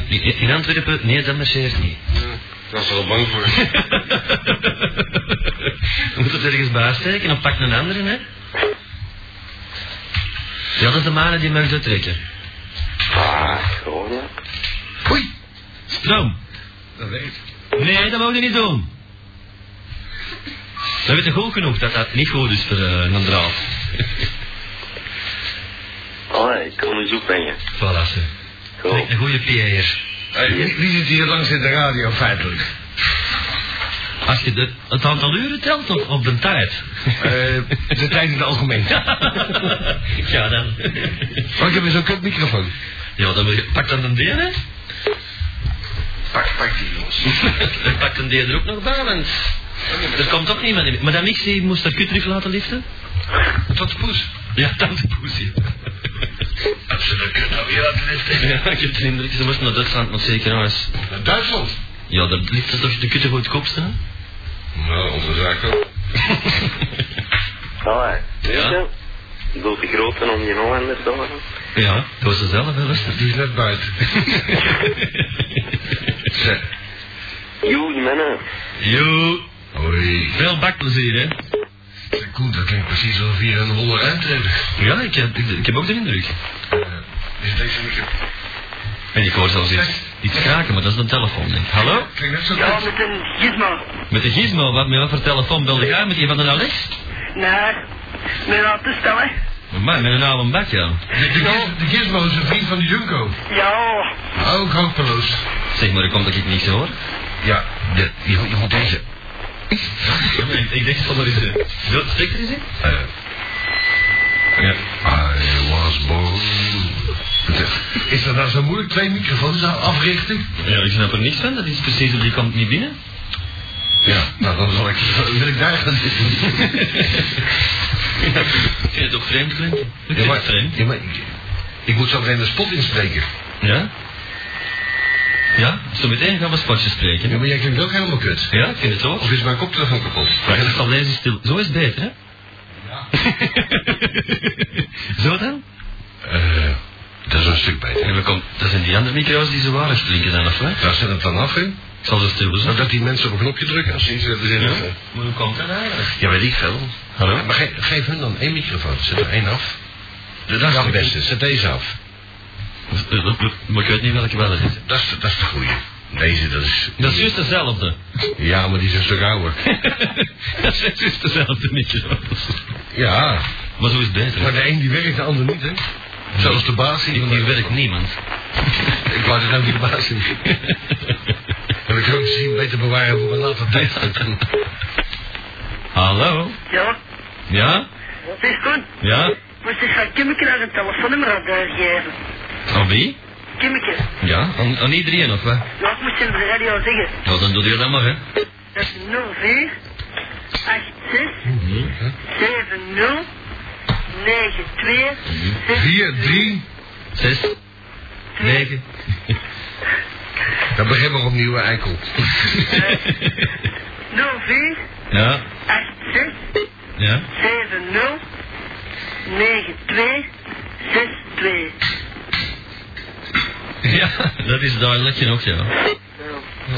A: In- In in Antwerpen, nee, dat marcheert niet.
H: Eh, Ik was er al bang voor.
A: Je moet het ergens bij steken en pak een andere, hè? Ja, dat is de manen die mag trekken.
G: Ah, gewoon ja.
A: Oei, stroom.
H: Dat weet
A: Nee, dat moet je niet doen. We weten goed genoeg dat dat niet goed is voor eh, een draad.
G: Allee, Oh, ik kon eens opbrengen.
A: Voilà, ze.
E: Cool.
A: Een goede PA'er.
H: Hey, wie, wie zit hier langs in de radio feitelijk?
A: Als je de, het aantal uren telt op, op de tijd.
H: Eh, de tijd in het algemeen.
A: ja, dan.
H: Maar ik heb weer zo'n kut microfoon.
A: ja, dan wil je, pak dan een deel, hè?
H: Pak, pak die jongens.
A: pak een deel er ook nog bij, want er komt ook niemand in. Maar dan niks, die moest haar kutrief laten liften?
H: Tot de poes.
A: Ja, tante Poesie.
H: Heb ze dat kut nou weer laten liften?
A: ja, ik heb de indruk, ze moest naar Duitsland, maar zeker nog eens.
H: Naar Duitsland?
A: Ja, daar ligt het toch de kutte voor het kopste, hè?
H: Nou, onze zaak ook.
G: Oh,
E: Allee.
A: Ja.
E: Ja. Ik bedoel, de grote om je Hollanders dan.
A: Ja, dat was ze zelf, hè, was
H: Die is net buiten. Zeg.
E: Joe, mannen.
A: Jo,
H: Oei.
A: veel bakplezier, hè?
H: Zeg, Koen, dat klinkt precies alsof hier een holle eind hebben.
A: Ja, ik heb, ik, ik heb ook de indruk.
H: Eh, Is deze microfoon?
A: En ik hoor zelfs iets, iets kraken, maar dat is een telefoon, denk ik. Hallo?
H: Klinkt net zo
B: Ja,
H: kut.
B: met een gizmo.
A: Met de gizmo, wat, met wat voor telefoon belde jij? Met die van de Alex?
B: Nee, met een toestel, hè.
A: Maar met een oude bak, ja.
H: De, de, giz- de gizmo is een vriend van de Junko.
B: Ja,
H: Ook hopeloos.
A: Zeg maar, dan komt dat ik niks hoor.
H: Ja, de, je, je moet deze.
A: ik dacht van, er is een... Wil het stekker eens in?
H: eh,
A: Ja.
H: I was born. Is dat nou zo moeilijk? Twee microfoons nou africhten?
A: Ja, ik snap er niks van. Dat is precies, die komt niet binnen.
H: Ja, nou dan zal ik, wil ik daar gaan zitten.
A: Vind je het ook vreemd, Clint? Ik vind
H: Ja,
A: het
H: maar,
A: vreemd.
H: ja, maar ik, ik moet zo meteen de spot inspreken.
A: Ja? Ja, zo meteen gaan we spotjes
H: Ja,
A: spreken.
H: maar jij klinkt ook helemaal kut.
A: Ja, ik vind het ook.
H: Of is mijn koptelefoon kapot?
A: Maar dat zal deze stil... Zo is het beter, hè? Ja. zo dan?
H: Eh, dat is een stuk beter.
A: En we komen... Dat zijn die andere micro's die zo waarlijk klinken zijn, of wat?
H: Daar zet het dan af in.
A: Ik zal ze stil
H: Nou,
A: bezorgen.
H: dat die mensen op een knopje drukken. Als ze iets willen
A: Ja?
H: zeggen.
A: Maar hoe komt dat eigenlijk?
H: Ja, weet ik veel.
A: Hallo?
H: Maar ge- geef hun dan één microfoon. Zet er één af. Dat is de beste. Zet deze af.
A: Maar ik weet niet welke wel het is.
H: Dat is, dat is de goeie. Deze, dat is...
A: Dat is juist dezelfde.
H: Ja, maar die is een stuk ouder.
A: dat zijn juist dezelfde micro's.
H: Ja,
A: Maar zo is het beter.
H: maar de een die werkt, de ander niet, hè? Zelfs de baas
A: Hier,
H: van de-
A: hier werkt niemand.
H: Ik wou het nou niet de baas zien. En ik kan hem misschien beter bewaren voor een later tijdstip.
A: Hallo?
B: ja.
A: Ja?
B: Zeg, Koen,
A: Ja?
B: moest eens gaan Kimmeke naar een telefoonnummer aan eh, geven.
A: Aan wie?
B: Kimmeke,
A: Ja, aan, aan iedereen of wat?
B: ja, ik moest je op de radio zeggen.
A: Ja, dan doe je dat maar, hè.
B: Dat is 04 86 70 92
H: Vier, drie.
A: Zes. Negen.
H: Dan beginnen we opnieuw, hè, eikel.
B: 04
A: Ja.
B: 86
A: Ja.
B: 70 92 62.
A: Ja, dat is duidelijk genoeg, ja.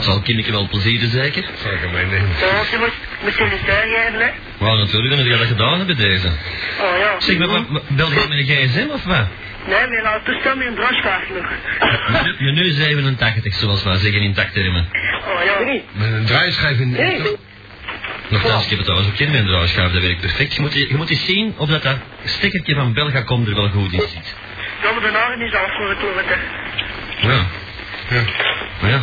A: Zal kinderen wel plezier zeker?
H: Zal ik hem meenemen?
B: Ja, je moet, moet je het uitgeven, hè?
A: Wauw, natuurlijk, dan heb je dat gedaan hebben deze.
B: Oh ja.
A: Zeg, maar, maar, maar bel jij met een gsm of wat?
B: Nee, mijn nou, toestel met een broodkaart nog.
A: Je, je nu 87, zoals wij zeggen in taktermen.
B: Oh ja.
H: Met een draaischijf in de auto?
A: Nogthans, ik heb het trouwens ook in mijn draaischijf, dat werkt perfect. Je moet, je moet eens zien of dat, dat stekkertje van Belgacom er wel goed in zit.
B: Ja, maar de nagen is afgekomen, hè?
A: Ja.
H: Ja.
A: Ja.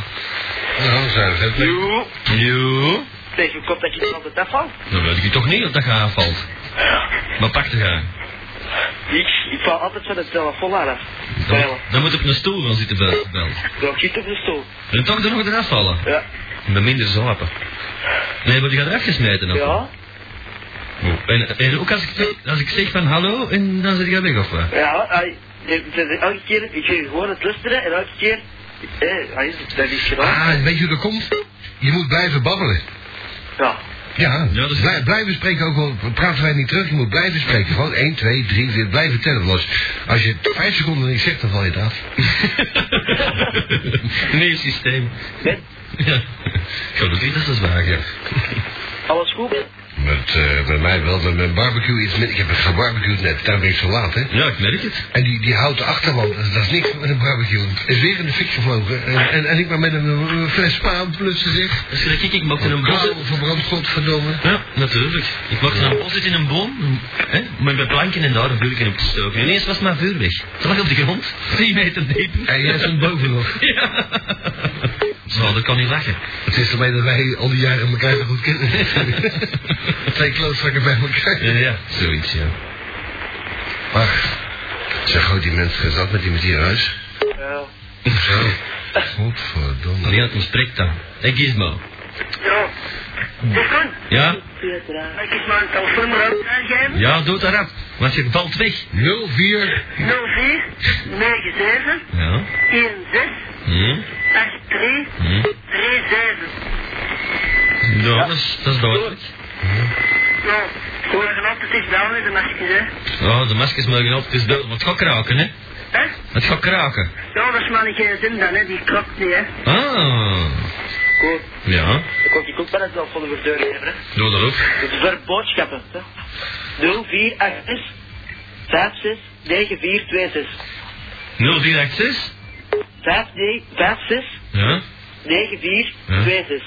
H: Nou, we zijn het. hè.
E: Joe.
A: Jo.
E: Zeg, hoe komt dat je van de dag valt?
A: Dan weet ik het toch niet dat dat gaat afvalt. Maar pak de gaan.
E: Ik, ik val altijd van de telefoon af.
A: Dan, dan moet op een stoel Nou, gaan zitten bij de bel.
E: Dan zit op de stoel.
A: En toch er nog eraf vallen.
E: Ja.
A: Met minder slapen. Nee, maar die gaat eraf gesmeten of?
E: Ja.
A: Oh, En, en ook als ik, als ik zeg van hallo, en dan zit je weg of wat?
E: Ja, hij- de- de- de- elke keer, ik ging gewoon het luisteren en elke keer, eh, hij is, dat is gedaan.
H: Ah, weet je hoe dat komt? Je moet blijven babbelen.
E: Ja,
H: Ja,
A: Ja, dat is-
H: Blij- blijven spreken ook al praten wij niet terug. Je moet blijven spreken. Gewoon 1, 2, 3, 4, blijven tellen. Want als je 5 seconden niks zegt, dan val je eraf.
A: Nieuw systeem.
E: Ben,
A: Ja. Gelukkig, dat is waar, ja.
E: alles goed?
H: Ja, met, eh, bij mij wel, met mijn barbecue iets minder. Ik heb het gebarbecued net, daar ben ik zo laat, hè.
A: Ja, ik merk het.
H: En die, die houten achterwand, dat is, dat is niks met een barbecue. Is weer in de fik gevlogen. En, en, en ik ben met een, eh, fles spa aan het plussen, zeg.
A: Schrik Dus ik, ik maakte een bos.
H: Klauwen verbrand, godverdomme.
A: Ja, natuurlijk. Ik maakte een bos in een boom. Hè, met mijn planken en daar een vuurken op te stoken. Ineens was mijn vuur weg. Het lag op de grond. Drie meter diep.
H: En jij stond boven nog.
A: Ja. Zo, dat kan niet lachen.
H: Het is ermee dat wij al die jaren elkaar zo goed kennen. Twee klootzakken bij elkaar.
A: Ja, ja, zoiets, ja.
H: Ach, zeg goed die mensen zat met die met die huis.
F: Ja.
H: Zo. Godverdomme.
A: Die had een spreekt dan. Hey, Gizmo.
E: Ja. Stefan,
A: Ja?
E: mag ik mijn telefoonraad aangeven?
A: Ja, doe het erop. Want je valt weg.
H: 04.
E: 04 97
A: Ja.
E: 16
A: Hm.
E: 83
A: Hm.
E: 37.
A: Ja, Dat, is, dat is duidelijk.
E: Ja, gewoon een altijd is bellen met de maskers, hè.
A: Ja, de maskers mogen altijd eens duidelijk. Want het gaat kraken, hè?
E: Hè?
A: Het gaat kraken.
E: Ja, dat is maar een gsm dan, hè. Die klopt niet, hè.
A: Ah.
E: Goed.
A: Ja.
E: Ik kon die ook bij het wel van de verdeur hebben, hè.
A: Doe dat ook.
E: Het is voor Dus boodschappen, hè. 0486 56 9426.
A: 0486?
E: 56
A: Ja.
E: 9426.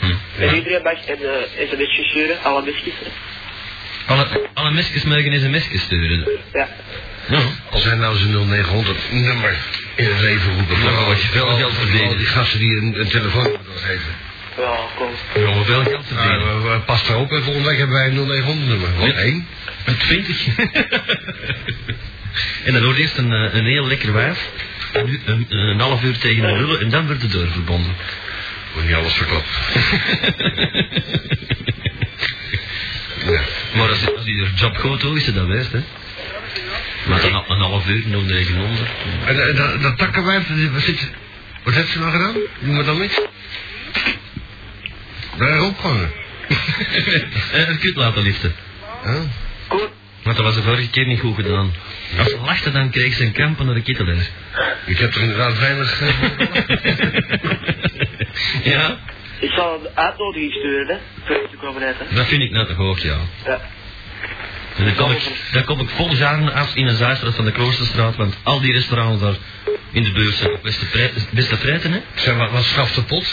A: Hm.
E: En
A: ja.
E: iedereen mag een uh, sms'je sturen, alle miskjes.
A: Alle, alle mesjes mogen eens een mesje sturen.
E: Ja.
A: Ja.
H: Als hij nou zijn 0900 nummer in het leven roepen.
A: Nou, wat je veel geld verdienen.
H: Al die gasten die een, een telefoon moeten geven.
E: Ja, kom.
A: Ja, hoeveel geld te
H: Ah, Ja,
A: verdienen?
H: we- we- pas erop en volgende week hebben wij een 0900 nummer. Wat
A: Ja.
H: één?
A: Een 20. en dan wordt eerst een, eh, een heel lekker wijf. Een, u- een, een half uur tegen een lullen en dan wordt de deur verbonden.
H: Wordt niet alles verklapt. Ja.
A: Maar als, als die er job goed doet, is het dat best, hè? Maar een, een half uur, 0900.
H: En, eh, dat, dat takkenwijf, eh, wat, zit, wat heeft ze nou gedaan? Noem maar dan niks. Daar ophangen.
A: Eh, een kut laten liften.
H: Huh?
E: Goed.
A: Want dat was de vorige keer niet goed gedaan. Als ze lachte, dan kreeg ze een kampen naar de kittelaar.
H: Ik heb er inderdaad weinig... eh,
A: ja,
E: Ik zal een uitnodiging sturen, hè. Voor je te komen eten.
A: dat vind ik nou toch ook, ja.
E: Ja.
A: En dan kom ik, dan kom ik vol jaren af in een zaaistraat van de Kloosterstraat, want al die restaurants daar in de buurt zijn ook beste, prij- beste prijten, hè.
H: Zeg, wat, wat schaft de pot?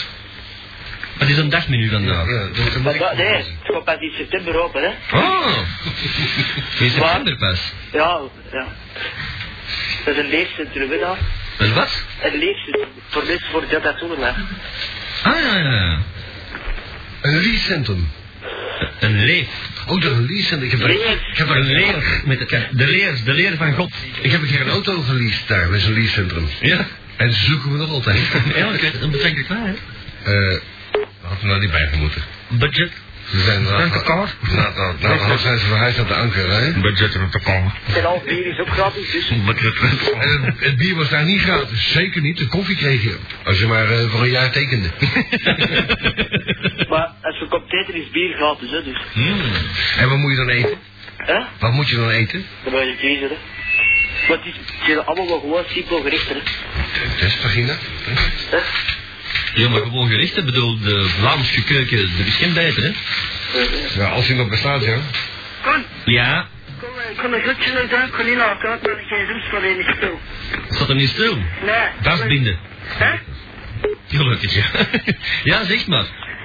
A: Maar het is een dagmenu vandaag.
H: dat wordt een
E: Maar,
H: week.
E: dat- nee, het komt pas in september open, hè.
A: Oh, is het
E: Waar?
A: kinderpas.
E: Ja, ja. Dat is een leefcentrum, hè, daar.
A: Een wat?
E: Een leefcentrum. Voor mensen voor dat dat doen, hè.
A: Ah, ja, ja, ja.
H: Een leasecentrum.
A: Een leef.
H: Oh, dat is een leasecentrum. Ik heb daar,
E: Leer.
H: ik heb daar
A: Een
H: een
A: leer. Met de, de leer, de leer van God.
H: Ik heb een keer een auto geleased daar, bij zo'n leasecentrum.
A: Ja.
H: En ze zoeken we nog altijd.
A: Ja, ik weet het, een betrekkelijk waar, hè.
H: Eh, hadden we nou niet bij gemoeten.
A: Budget.
H: Ze zijn Nou, na,
A: Een tekort.
H: na, na, na, na, zijn ze verhuisd naar de anker, hè?
A: Budget om te komen.
E: En al bier is ook gratis, dus.
H: En het, het bier was daar niet gratis. Zeker niet. De koffie kreeg je. Als je maar eh, voor een jaar tekende.
E: Maar als we komt eten is bier gratis, hè, dus.
H: En hmm. wat moet je dan eten?
E: Hè?
H: Wat moet je dan eten?
E: Dan moet je kiezen, hè. Maar het, is, het zijn allemaal wel gewoon simpel gerechten, hè.
H: Een testpagina.
E: Hè?
A: Ja, maar gewoon gericht, hè. bedoel, de Vlaamse keuken, er is geen beter, hè?
H: Ja, als hij nog bestaat, ja.
E: Kom,
A: Ja.
E: kom, eh, kom een groetje naar daar, kon niet laten, want dan geen zin voor in de spul.
A: Zat er niet stil?
E: Nee.
A: Dat is binden.
E: Hè?
A: Gelukkig, ja. ja, zeg maar.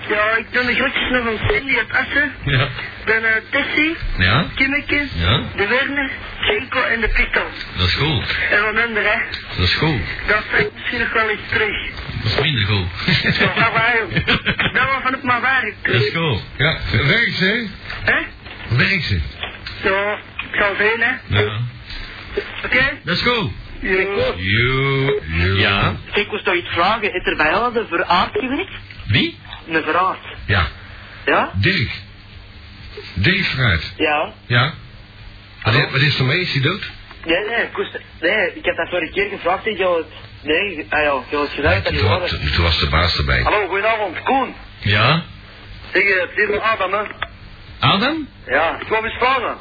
E: Ja, ik doe de groetjes naar van Cindy uit Assen,
A: Ja.
E: dan uh, Tessie,
A: Ja,
E: Kimmeke,
A: ja,
E: de Werner, Cinco en de Pito.
A: dat is goed.
E: En van anderen, hè.
A: Dat is goed.
E: Dat trekt misschien nog wel eens terug.
A: Dat is minder goed.
E: Zo, maar waar, joh. Dat was van het maar waar, ik-
A: Dat is goed.
H: Ja, werkt ze,
E: hè?
H: hè? Werkt ze.
E: Ja, ik zal zien, hè.
A: Ja.
E: Oké?
A: Dat is goed.
E: Okay?
A: Jo. Ja.
E: Ik moest toch iets vragen, is er bij jou een veraard gewerkt?
A: Wie?
E: Een veraard.
H: Ja.
E: Ja?
H: Dirk. Dirk Fruit.
E: Ja.
H: Ja. Wat is, wat is er mee? Is hij dood?
E: Nee, nee, ik moest... Nee, ik heb dat vorige keer gevraagd, ik had... Nee, ah ja, ik had gezegd dat je
H: toen,
E: was.
H: toen- toen was de baas erbij.
E: Hallo, goedenavond, Koen.
A: Ja.
E: Zeg, eh, het is een Adam, hè?
A: Adam?
E: Ja, ik kwam eens vragen.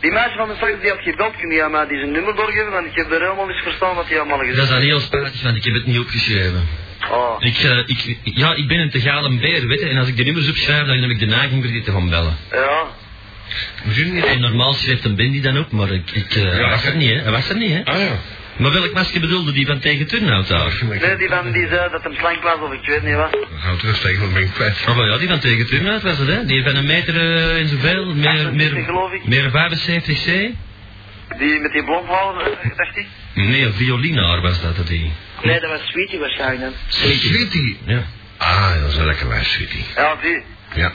E: Die meisje van de straks die had gebeld, kun je aan mij die zijn nummer doorgeven? Want ik heb er helemaal eens verstaan wat hij allemaal
A: Dat is
E: gezegd
A: dan heel spijtig, want ik heb het niet opgeschreven.
E: heeft. Oh.
A: Ik, eh, ik, ja, ik ben een te galen beer, weet je. En als ik de nummers opschrijf, dan heb ik de neiging voor die te gaan bellen.
E: Ja.
H: We zien niet.
A: En normaal schrijft een Bendy dan ook, maar ik, ik, eh, hij was er niet, hè. Hij was er niet, hè.
H: Ah ja.
A: Maar welk masker bedoelde die van tegen Turnhout daar?
E: Nee, die van die zei dat hem slank was of ik weet niet wat.
H: Dan gaan we eh, terugsteken, want ik ben ik kwijt.
A: Oh, wel ja, die van tegen Turnhout was het, hè. Die van een meter eh, en zoveel, meer,
E: 78,
A: meer,
E: geloof ik.
A: meer 75 c.
E: Die met die blondvouwen, dacht ik.
A: Nee, een violinaar was dat, dat die.
E: Nee, dat was Sweetie waarschijnlijk dan.
H: Sweetie.
A: Ja.
H: Ah, dat is een lekker wijs, Sweetie.
E: Ja, die.
H: Ja.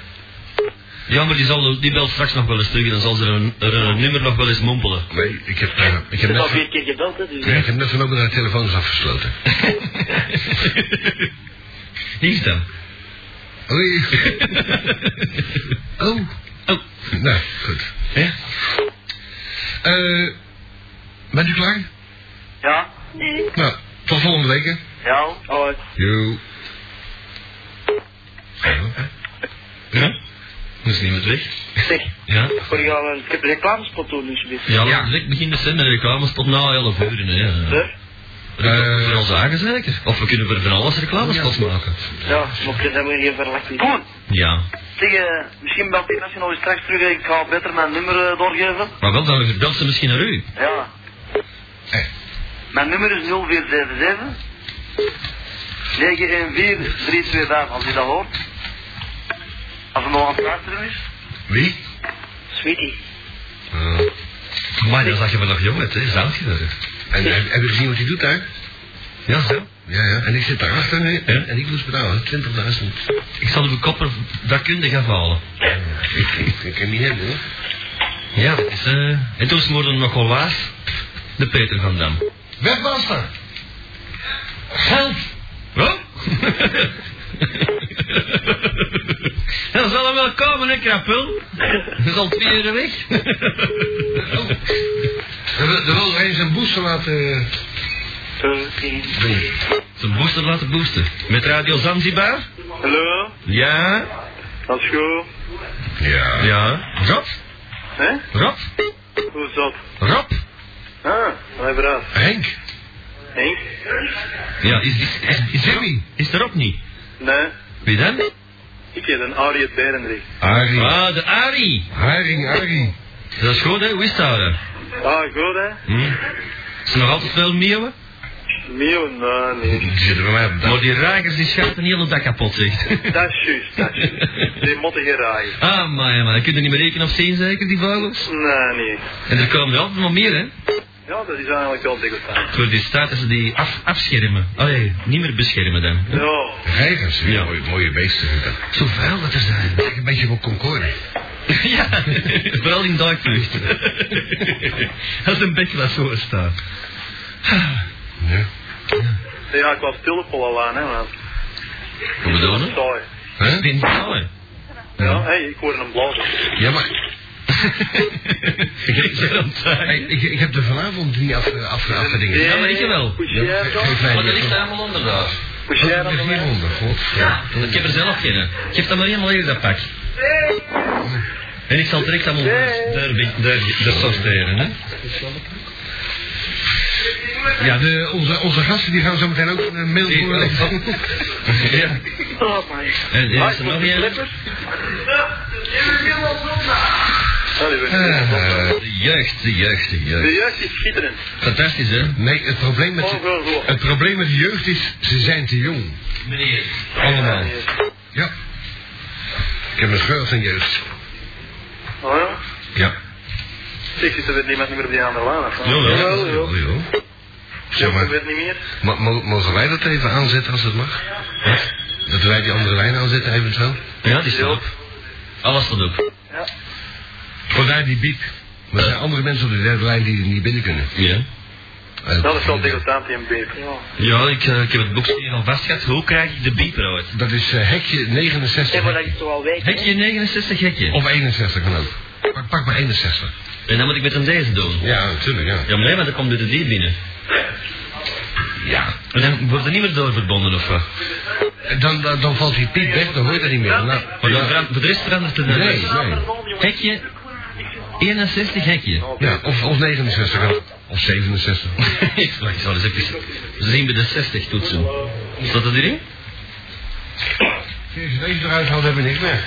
A: Ja, maar die, zal, die belt straks nog wel eens terug en dan zal ze er een, er een nummer nog wel eens mompelen.
H: Nee, ik heb, eh, ik
E: Ze
H: heb
E: is al
H: net...
E: vier keer gebeld, hè. Dus.
H: Ja, ik heb net van ook naar de telefoon is afgesloten.
A: Hier dan.
H: Oei. Oh.
A: Oh.
H: Nou, goed.
A: Ja?
H: Eh, bent u klaar?
E: Ja.
H: Nou, tot volgende week, hè.
E: Ja. Oh,
H: Joe.
A: Ja? Moest niemand weg?
E: zeg.
A: Ja?
E: Voor jou, ik heb een reclamespot doen, alsjeblieft.
A: Ja,
H: Ja.
A: direct beginnen ze met de reclames tot na 11 uur. Hè. Ja.
E: Zeg.
A: Reclame voor onze eigen zeker. Of we kunnen voor van alles reclamespots maken.
E: Ja, maar ik zijn we hier verlakt. Koen,
A: Ja.
E: zeg, eh, misschien belt die nationaal eens straks terug. Ik ga beter mijn nummer eh, doorgeven.
A: Maar wel, dan belt ze misschien naar u.
E: Ja.
H: Eh.
E: Mijn nummer is 0477 914 325, als je dat hoort. Als er nog aan het luisteren is.
H: Wie?
E: Sweetie.
H: Eh,
A: Maar dan Ah. zag je me nog jong uit, hè? Zou je dat?
H: en eh, heb, heb je gezien wat hij doet daar?
A: Ja, zo.
H: Ja, ja. En ik zit daarachter hè, en, en ik moest betalen. 20.000.
A: Ik zal uw kopper dakkundig afhalen.
H: ik kan niet hebben, hoor.
A: Ja, dat is, eh. En toen smoorde nog wel waas. De Peter van Dam.
H: Wegwassen!
A: Geld! Wat? Dat zal hem wel komen, hè, krapul? Dat is al twee uur weg.
H: Er wil- er wil eens een eh, booster laten...
A: Zijn booster laten boosten. Met Radio Zanzibar?
E: Hallo,
A: Ja.
E: dat is goed.
H: Ja.
A: Ja. Rob?
E: Hè?
A: Rob?
E: Hoe is dat?
A: Rob?
E: Ah, hij braaf.
H: Henk.
E: Henk?
A: Ja, is, is, is, is,
H: Jimmy.
A: is er ook niet?
E: Nee,
A: Wie dan?
E: ik heet een Ariët Berendrecht.
H: Harry.
A: Ah, de Ari.
H: Haring, Harry.
A: Dat is goed, hè? Hoe is dat? hè?
E: Ah, goed hè?
A: Hm? Is er nog altijd veel meeuwen?
E: Mio, nee, nee.
H: Die zitten bij mij op de
A: Maar die reigers die schapen de hele dag kapot, zegt.
E: Dat is juist, dat is juist. Die motten geen raaien.
A: Ah, maar man, je kunt er niet meer rekenen op zien, zeker, die vogels?
E: Nee, nee.
A: En er komen er altijd nog meer, hè?
E: Ja, dat is eigenlijk wel degoutant.
A: Voor die statussen die af, afschermen. Allee, niet meer beschermen dan.
E: Ja.
H: reigers.
A: Ja.
H: Ja. Mooie, mooie beesten vind ik dat.
A: Zoveel dat er zijn.
H: Lijkt een beetje op Concorde.
A: ja, vooral in dagvlucht. Als een beklas voor staat.
H: Ja.
E: Ja, ik was tulpel al aan, hè, man.
A: Wat bedoel je?
E: Sorry.
A: Dat is saai.
E: Ja, hé, ik hoor een blazer.
H: Ja, maar
A: Ik heb ze aan het
H: hey,
A: zeggen.
H: ik, ik heb er vanavond niet af, eh, af, afgedingen.
A: Ja, weet je wel.
E: Poussière, toch?
H: Geef mij
A: Maar er
H: die
A: ligt
H: even. Oh,
A: allemaal onder daar.
E: Poussière
H: Dat
E: aan de
H: ligt
E: lijn.
H: hieronder, god. Ja.
A: Ik heb er zelf geen. Geef dan maar helemaal hier dat pak. En ik zal direct allemaal daar, daar, daar, daar sorteren, hè.
H: Ja, de, onze, onze gasten die gaan zo meteen ook een mail
A: Die-
H: voorleggen.
A: Ja.
E: Oh, my.
A: En, en
E: Ah,
A: is
E: ik
A: er
E: moet
A: nog
E: de
A: een?
E: slippers. Sorry, we
H: Eh,
A: De jeugd, de jeugd, de
E: De
A: jeugd.
E: jeugd is schitterend.
A: Fantastisch, hè?
H: nee, het probleem, met,
E: Oh, wel goed.
H: het probleem met de jeugd is, ze zijn te jong.
A: Meneer.
H: Allemaal.
E: Ja, Ah, ja.
H: Ja. Ik heb een scheur van jeugd.
E: Oh ja?
H: Ja.
E: Ik zit er weer niemand meer op die andere lijn af. hè?
A: Jawel.
E: Jawel, jawel.
H: Jawel, joh. Zeg
E: Ik
H: maar,
E: weet niet meer.
H: ma- mo- mogen wij dat even aanzetten als het mag? Dat wij die andere lijn aanzetten eventueel?
A: Ja, die staat op. Alles staat op.
E: Ja.
H: Vandaar die biep. Maar er zijn andere mensen op de derde lijn die niet binnen kunnen.
A: Ja.
H: Eh,
E: Dat is wel degoutant, die een beep. Ja.
A: Ja, ik, eh, ik heb het boekje hier al vast gehad. Hoe krijg ik de bieper uit?
H: Dat is eh, hekje 69.
E: ik toch al weet.
A: Hekje 69 hekje.
H: Of 61 kan ook. Pak, pak maar 61.
A: En dan moet ik met hem deze doen.
H: Ja, natuurlijk, ja.
A: Ja, maar nee, want dan komt er de dier binnen.
H: Ja.
A: En dan wordt er niet meer door verbonden of wat.
H: En Eh, Dan, dan, dan valt die piep weg, dan hoor je dat niet meer. Nou,
A: Maar dan verandert, voor de rest verandert het
H: nee,
A: dan
H: nee.
A: niks. Hekje. 61 hekje.
H: Ja, of, of 69 kan ook. Of 67.
A: Ik zal eens even zien bij de 60 toetsen. Staat dat erin?
H: Als je deze eruit haalt, hebben we niks meer.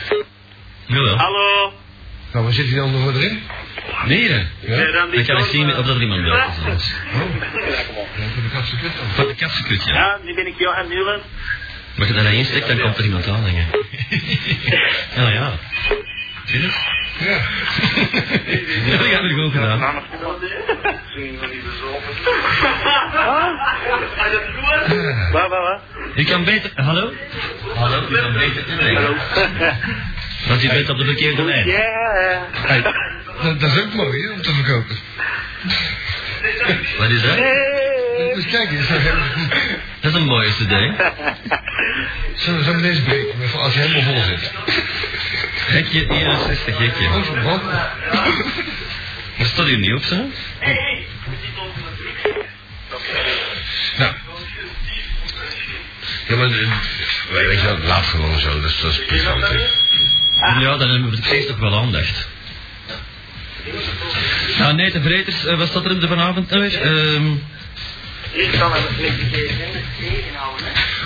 A: Jawel.
B: Hallo?
H: Nou, waar zit hij dan nog voor erin?
A: Nee, hè?
B: Eh, dan die
A: Dan kan ik zien of dat er iemand bij
B: Ja,
A: is.
H: Ja, voor de katse kut dan.
A: Van de katsenkut, ja.
B: Ja, nu ben ik Johan Muren.
A: Maar als je daarheen steekt, dan komt er iemand aanhangen. Ja, ja. Zie je dat?
H: Ja.
A: Ja, dat heb ik ook gedaan.
H: Ja.
E: Waar, waar, waar?
A: Je kan beter... Hallo? Hallo, je kan beter inbrengen. Want je bent op de verkeerde lijn.
E: Ja, eh.
H: Hey, dat, dat is ook mooi, hè, om te verkopen.
A: Wat is dat?
H: Dus kijk eens, dan hebben we-
A: Dat is een mooie cd.
H: zullen we zo meteen eens breken, maar als je helemaal vol zit.
A: Gekje 61, gekje.
H: Wat? Wat?
A: Dat staat hier niet op, zo.
H: Nou. Ja, maar eh, weet je wat, laat gewoon zo, dus dat is, dat is prima natuurlijk.
A: Ja, dan hebben we het feest toch wel aandacht. Nou, nee, de Vreters, eh, wat staat er in de vanavond nou weer? Ehm,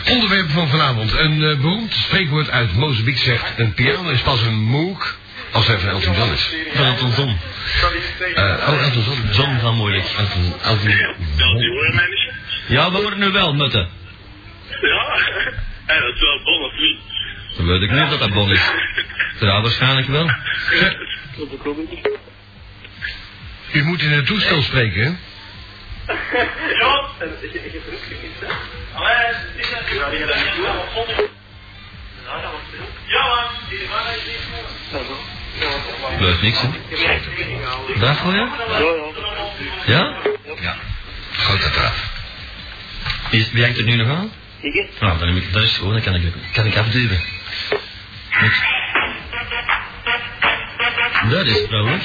H: Onderwerp van vanavond. Een eh, beroemd spreekwoord uit Mozambique zegt... een piano is pas een moog als hij van Elton John is.
A: van Elton John.
H: Eh, oh, Elton John.
A: John van Moeilijk.
H: Elton, Elton
A: Ja, we worden nu wel nutten.
B: Ja, en dat is wel bon of niet?
A: Dan weet ik niet of dat dat bon is. Ja, waarschijnlijk wel.
H: U moet in het toestel spreken, hè?
B: Ja, ik heb er ook geen
H: Oh,
B: Allee, dit is natuurlijk. Ja, man, die man is niet
A: Gebeurt niks, hè? Dag, hoor je? Ja?
H: Ja. Grote draad.
A: Is, wie hangt er nu nog aan?
E: Ik hè?
A: Nou, dan heb ik, dat is gewoon, dan kan ik, kan ik afduwen. Goed. Dat is trouwens.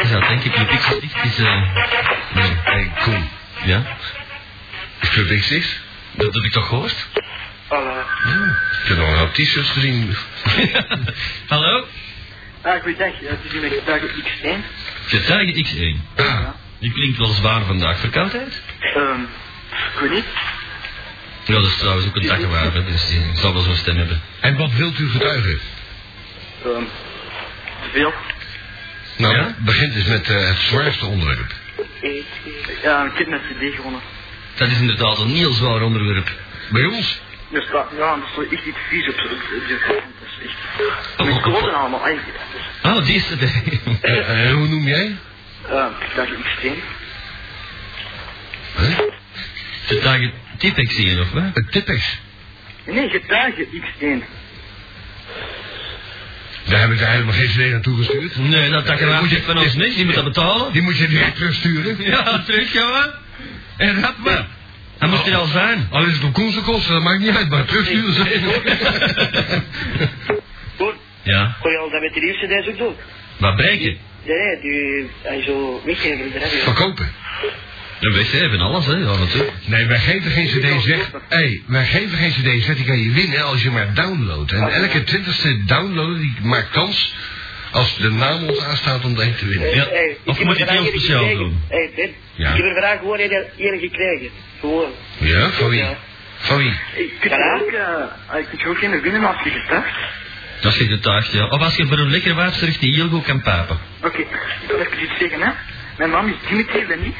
A: Ik zou denken, die pixels dicht is... eh nee.
H: hey, kom.
A: Ja,
H: Is Club X is?
A: dat heb ik toch gehoord?
E: Hallo.
H: Ik heb nog een hoop t-shirts gezien.
A: Hallo?
E: Ah, goeiedag. Het is hier met getuige X1.
A: Getuige X1. Die klinkt wel zwaar vandaag. Verkoudheid?
E: Ehm, ik weet niet.
A: Ja, dat is trouwens ook een takkenwaarde, dus die zal wel zo'n stem hebben.
H: En wat wilt u getuigen?
E: Ehm, te veel.
H: Nou,
A: Ja?
H: begint eens met eh, het zwaarste onderwerp.
E: Ja, ik heb net CD gewonnen.
A: Dat is inderdaad een heel zwaar onderwerp.
H: Bij ons?
E: Dus dat, ja, dat is wel echt iets vies op zo'n Dat is echt...
A: Oh,
E: Mijn
A: oh,
E: kloten
A: oh.
E: allemaal Dus, eigenlijk. Dat is...
A: Oh, die is er.
H: Eh, eh, hoe noem jij?
E: Ehm, getuige X1.
A: Getuige Tipex hier, of wat?
H: Het Tipex.
E: Nee, getuige X1.
H: Daar heb ik daar helemaal geen idee naartoe gestuurd.
A: Nee, dat
H: Moet
A: takkenwaarde
H: je-
A: van ons niet. Die moet dat betalen.
H: Die moet je direct terugsturen.
A: Ja, terug, jongen. En rap maar. Hij moest er al zijn.
H: Al is het op kosten kosten, dat maakt niet uit, maar terugsturen ze
E: Goed,
A: Ja,
E: kon je al dat met die nieuwste deze ook doen?
A: maar breken.
E: Nee, nee, die... Hij zo weggeven, daar heb je...
H: Verkopen.
A: Een wc en alles, hè. Ja, natuurlijk.
H: Nee, wij geven geen cd's weg. Hé, wij geven geen cd's weg, die kan je winnen als je maar downloadt. En elke twintigste downloader die maakt kans als de naam ons aanstaat om daarin te winnen.
A: Ja,
E: Hey, Eh, ik
A: of
E: heb
A: moet
E: er
A: ik heel
E: vandaag één
A: speciaal
E: gekregen.
A: doen?
E: Hey, Ben,
H: Ja.
E: ik heb er vandaag gewoon één één gekregen. Gewoon.
H: Ja, van wie? Van wie?
E: Ik kan ook, eh, ik kan ook geen winnen als je gestart.
A: Als je getuigt, ja. Of als je voor een lekker waard zorgt die heel goed kan papen.
E: Oké, ik wil even iets zeggen, hè. Mijn naam is Dimitri Lenny.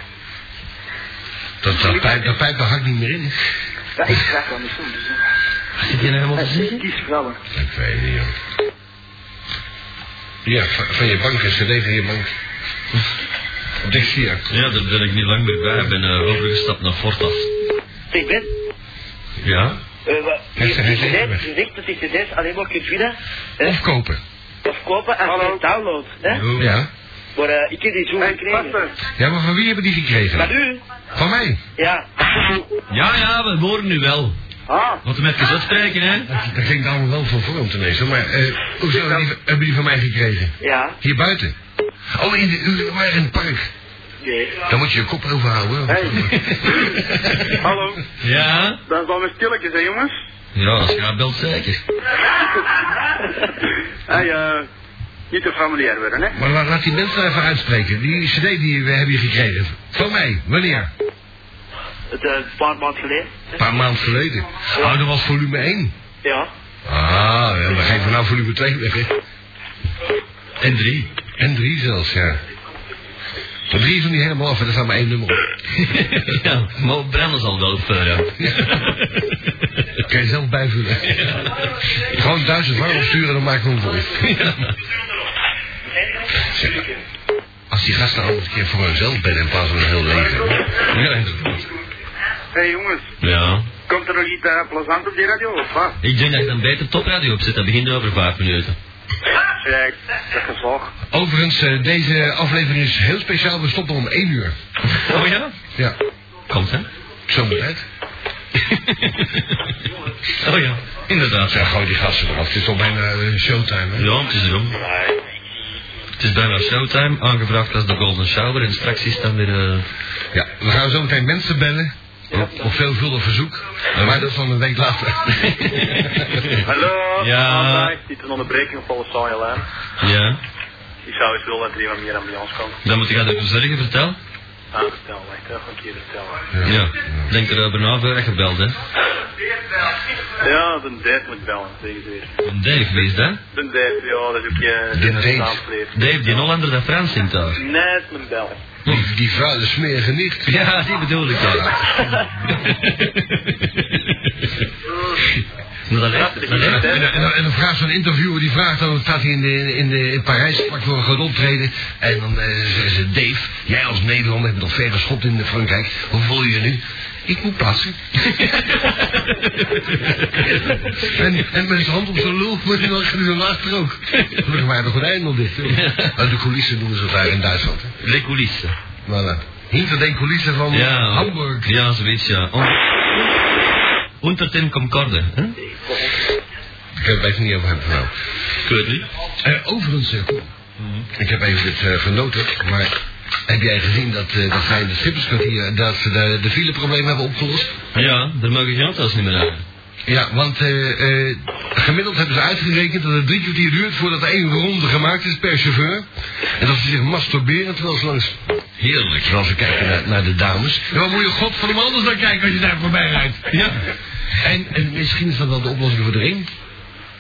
H: Dat, dat, pijp, dat pijp, daar hak ik niet meer in.
E: Ja, ik vraag wel niet zo. Dus, eh.
A: Wat zit je nou helemaal te
E: ik
A: zeggen?
E: kies vrouwen.
H: Ik weet niet, joh. Ja, van, van je bank, een cd van je bank. Op dit hier.
A: Ja, daar ben ik niet lang meer bij. Ik ben eh, overgestapt naar Fortas.
E: Zeg, Ben,
A: Ja?
E: eh, wat-
H: Heeft ze geen
E: je
H: zin meer?
E: je zegt dat je cd's alleen maar kunt winnen hè,
H: Of kopen.
E: of kopen als je het downloadt. Hè?
H: Ja.
E: Maar eh, ik heb die zo gekregen.
H: Ja, maar van wie hebben die
E: Maar
H: gekregen?
E: nu?
H: Van mij.
E: Ja.
A: Ja, ja, we horen nu wel.
E: Ah,
A: Wat we even uitspreken, hè?
H: Dat, dat klinkt allemaal wel van vorm ineens, hoor, maar eh, hoezo hebben die, hebben die van mij gekregen?
E: ja.
H: Hier buiten. Oh, in de uren maar in het park.
E: Nee.
H: Dan moet je je kop overhouden. hoor.
J: Hallo,
A: Ja?
J: dat is wel weer stilletjes, hè jongens?
A: Ja, als je haar belt, zeker.
J: Hey, eh, Niet te familiair worden, hè?
H: Maar la- laat die mensen even uitspreken. Die cd die we hebben hier gekregen. Van mij, wanneer?
E: Het, eh, een paar maanden geleden.
H: Een paar maanden geleden. Oh, dat was volume 1.
E: Ja.
H: Ah, ja, dan geven we nou volume 2 weg, hè.
A: En drie.
H: En 3 zelfs, ja. Maar 3 is nog niet helemaal af, hè. er staat maar één nummer op.
A: ja, maar Brennan zal wel eh, verder.
H: Dat kan je zelf bijvullen. Gewoon duizend warm opsturen, dan maken we hem vol. Als die gasten nou een keer voor hunzelf bellen in plaats van een heel leger.
A: Ja, inderdaad.
J: Hé jongens,
A: Ja.
J: komt er nog iets eh, plezant op die radio of wat?
A: Ik denk dat ik dan beter topradio opzet. Dat begint over vijf minuten.
J: Zeg, eh, dat gevolg.
H: Overigens, eh, deze aflevering is heel speciaal. We stoppen om 1 uur.
A: Oh ja?
H: Ja,
A: Komt hè?
H: zo moet het.
A: oh ja, inderdaad.
H: Ja, gooi die gasten eraf. Het is al bijna eh, showtime, hè?
A: Ja, het is erom. Het is bijna showtime, aangevraagd als de Golden Shower en straks is dan weer... eh,
H: Ja, we gaan zo meteen mensen bellen. Op, op veelvuldig verzoek. Maar dat is dan een week later.
J: Hallo,
A: Ja.
J: Vandaag zit een onderbreking op alle saaie lijn.
A: Ja,
J: Ik zou eens willen dat er iemand meer aan bij ons komt.
A: dan moet ik dat even zeggen, vertel.
J: Ah, vertel, wacht even, een keer vertellen.
A: Ja, denk erover na voor je gebeld hè.
J: Ja, de date moet bellen, tegen ze weer.
A: Dave, wie is dat?
J: De date, ja, dat is ook je...
H: De date.
A: Dave, die Hollander dat Frans zingt daar.
J: Nee, het is een bel.
H: Die, die vuile smerige nicht.
A: Ja, die bedoel ik dan. Maar dat lijkt- dat
H: En,
A: lijkt-
H: en, en, en dan vraagt zo'n interviewer, die vraagt dan, staat hij in, de, in, de, in Parijs, vlak voor een groot optreden. En dan eh, zeggen ze, Dave, jij als Nederlander hebt nog verre schot in Frankrijk. Hoe voel je je nu? Ik moet plassen. en, en met zijn hand op zijn lul, maar dan ging hij later ook. Gelukkig waren er gordijnen al dicht. hoor. Uit de coulissen doen ze dat daar in Duitsland. hè.
A: Les coulisses.
H: Voilà. Hinter den coulissen van
A: Ja,
H: Hamburg.
A: Ja, zoiets, ja. On- Unter den Concorde, hè?
H: Ik heb het even niet over hebben nou.
A: Ik weet het niet.
H: Eh, overigens, eh, Koen,
A: Mhm.
H: ik heb even dit eh, genoten, maar heb jij gezien dat, eh, dat zij in het Schipperskwartier dat ze de, de fileprobleem hebben opgelost?
A: Ja, daar mogen geen auto's niet meer rijden.
H: Ja, want eh, eh, gemiddeld hebben ze uitgerekend dat het drie kwartier duurt voordat er één ronde gemaakt is per chauffeur. En dat ze zich masturberen terwijl ze langs...
A: Heerlijk.
H: Terwijl ze kijken naar, naar de dames. En waar moet je godverdomme anders naar kijken als je daar voorbij rijdt?
A: Ja.
H: En, en misschien is dat wel de oplossing voor de ring.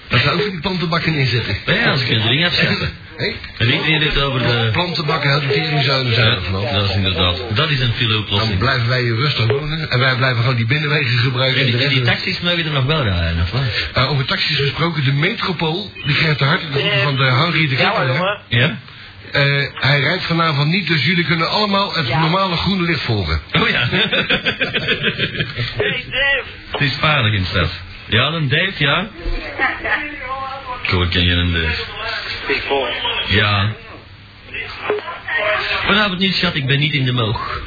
H: Dat ze ook die plantenbakken inzetten.
A: Ja, als ik een ring afzetten.
H: Hé?
A: En iedereen dit over
H: Eh.
A: de...
H: Plantenbakken, uit de teringzuilen zijn er vanaf.
A: dat is inderdaad. Dat is een
H: Dan
A: file-oplossing.
H: blijven wij hier rustig wonen en wij blijven gewoon die binnenwegen gebruiken.
A: En
H: en de
A: die, en die
H: rest-
A: taxis mogen er nog wel rijden, of wat?
H: Eh, over taxis gesproken, de metropool, die krijgt de harte de groeten van de Henri de Klepper. hè.
A: Ja?
H: Eh, hij rijdt vanavond niet, dus jullie kunnen allemaal het normale groene licht volgen.
A: Oh ja. Het is veilig in stad. Ja, een Dave, ja. Goed, ken je een Dave.
E: Ik volg.
A: Ja. Vanavond niet, schat, ik ben niet in de moog.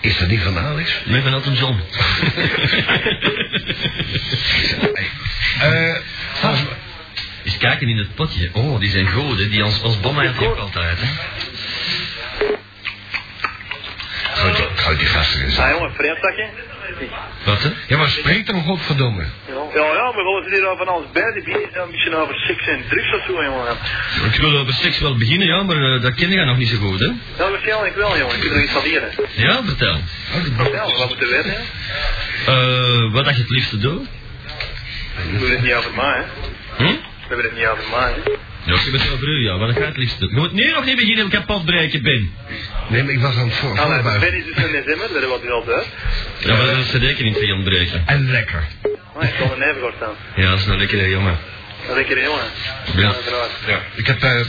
H: Is dat niet van Alex?
A: Nee, van Elton John.
H: Eh, volgens-
A: Eens kijken in het potje. Oh, die zijn goed, hè. Die als, als bommen heeft ook altijd, hè.
H: gooi, die- gooi die gasten eens
E: Ah
H: aan.
E: jongen, vreemdakje.
A: Wat, hè?
H: Ja, maar spreek dan godverdomme.
J: Ja, ja, we willen hier al van alles bij. Die bier is een beetje over nou seks en drugs of zo, jongen.
A: Ik wil over seks wel beginnen, ja, maar eh, dat ken je nog niet zo goed, hè.
J: Ja, Nou, waarschijnlijk wel, jongen. Ik kan er iets van leren.
A: Ja, vertel.
J: Ja, wat moeten we weten, hè?
A: Eh, wat dat je het liefste doet?
J: Doe dit niet over mij, hè?
A: Hm?
J: We hebben het niet over mij, hè?
A: Ja, ik ben zo voor u, ja. Wat ga je het liefst doen? Je moet nu nog niet beginnen, ik heb afbreken, Ben.
H: Nee, maar ik was aan het voor-
J: Allee,
H: voorbuigen.
J: Ben is dus een december, dat wordt hij al uit.
A: Ja, maar dat is zeker niet veel ontbreken.
H: En lekker.
J: Maar Ah, ik zal er neven kort aan.
A: Ja, dat is een lekkere jongen.
J: Dat lekker, jongen.
A: Ja.
J: Ja.
H: Ik heb eh,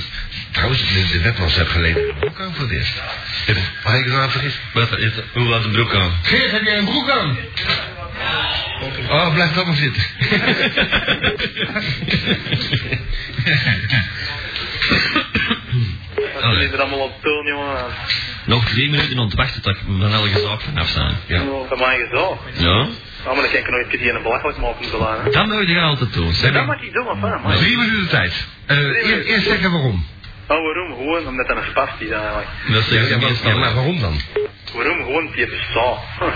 H: trouwens de, de webmans heb geleden. Ook aan voor het eerst. Waar ik het nou vergis?
A: Wat, is, hoe was de broek aan?
H: Geert, heb jij een broek aan? Oh, blijf dat maar zitten.
J: Dat zit er allemaal op toon, jongen.
A: Nog drie minuten ontwachten dat ik van elke zaak vanaf zijn.
J: Van mij gezellig.
A: Ja?
J: Ja, Ah, maar dan kan ik nooit die een belachelijk maken te laten.
A: Dat moet je altijd doen. Zeg
J: Dat
A: maar.
J: mag ik doen, maar van
H: Maar
J: man.
H: Drie minuten tijd. Eh, eer- eerst zeggen waarom.
J: Oh, waarom? Gewoon omdat dat een spast is,
E: eh,
J: eigenlijk.
A: Dat zeg ik meestal.
H: Ja, maar waarom dan?
J: Waarom? Gewoon die bestaat.
A: Dat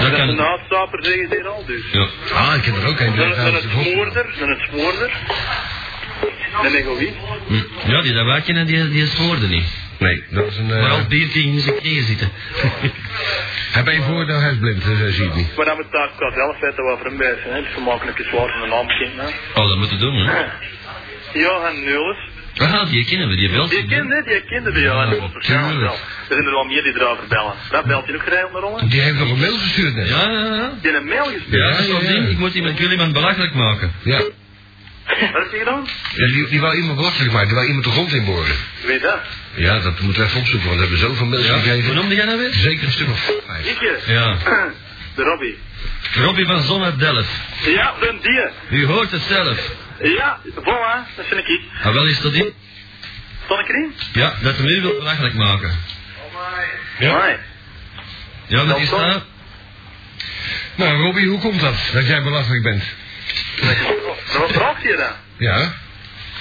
J: Dat is
A: kan-
J: een uitstaper, zeggen ze hier al, dus.
A: Ja.
H: Ah, ik heb er ook een.
J: Dan,
H: die
J: dan
H: uit
J: het
H: het hof-
J: smoorder, dan het smoorder.
E: De egoïst.
K: Hm. Ja, die dat waakje, die, die hoorde niet.
H: Nee, dat is een... eh,
K: Maar als biertje in zijn knieën zitten.
H: Hij ben je voordeel, hij is blind, dus hij ziet niet.
E: Maar dan moet daar qua zelf weten wat voor een mens, hè. Het is gemakkelijk is waar van een naam kind, hè.
K: Oh, dat moeten we doen, hè?
E: Johan Nulis.
K: Ah, die kennen we, die belt.
E: Die kent dit, die kent de Johan Nulis. waarschijnlijk wel. Er zijn er wel meer die erover bellen. Dat belt je nog geregeld naar ons.
H: Die heeft nog een mail gestuurd net.
K: Ja, ja, ja.
E: Die een mail gestuurd.
K: Ja, dat is zo'n
H: ja, ja.
K: ding. Ik moet iemand, ik wil iemand belachelijk maken.
H: Ja.
E: Wat heb je gedaan?
H: Ja, die, die wou iemand belachelijk maken, die wou iemand de grond inboren.
E: Wie dat?
H: Ja, dat moeten we even opzoeken, want we hebben zoveel mails
K: Ja. Hoe
H: gekregen.
K: noemde jij nou weer?
H: Zeker een stuk of vijf.
E: Ik je.
K: Ja.
E: De Robbie.
K: Robbie van Zon uit Delft.
E: Ja, de dier.
K: U hoort het zelf.
E: Ja, voilà, dat vind ik.
K: Ah, wel is dat in?
E: Stond ik erin?
K: Ja, dat hem u wil belachelijk maken.
E: Amai.
K: Ja, dat is dat.
H: Nou, Robbie, hoe komt dat, dat jij belachelijk bent?
E: Maar wat vraagt je dan?
H: Ja?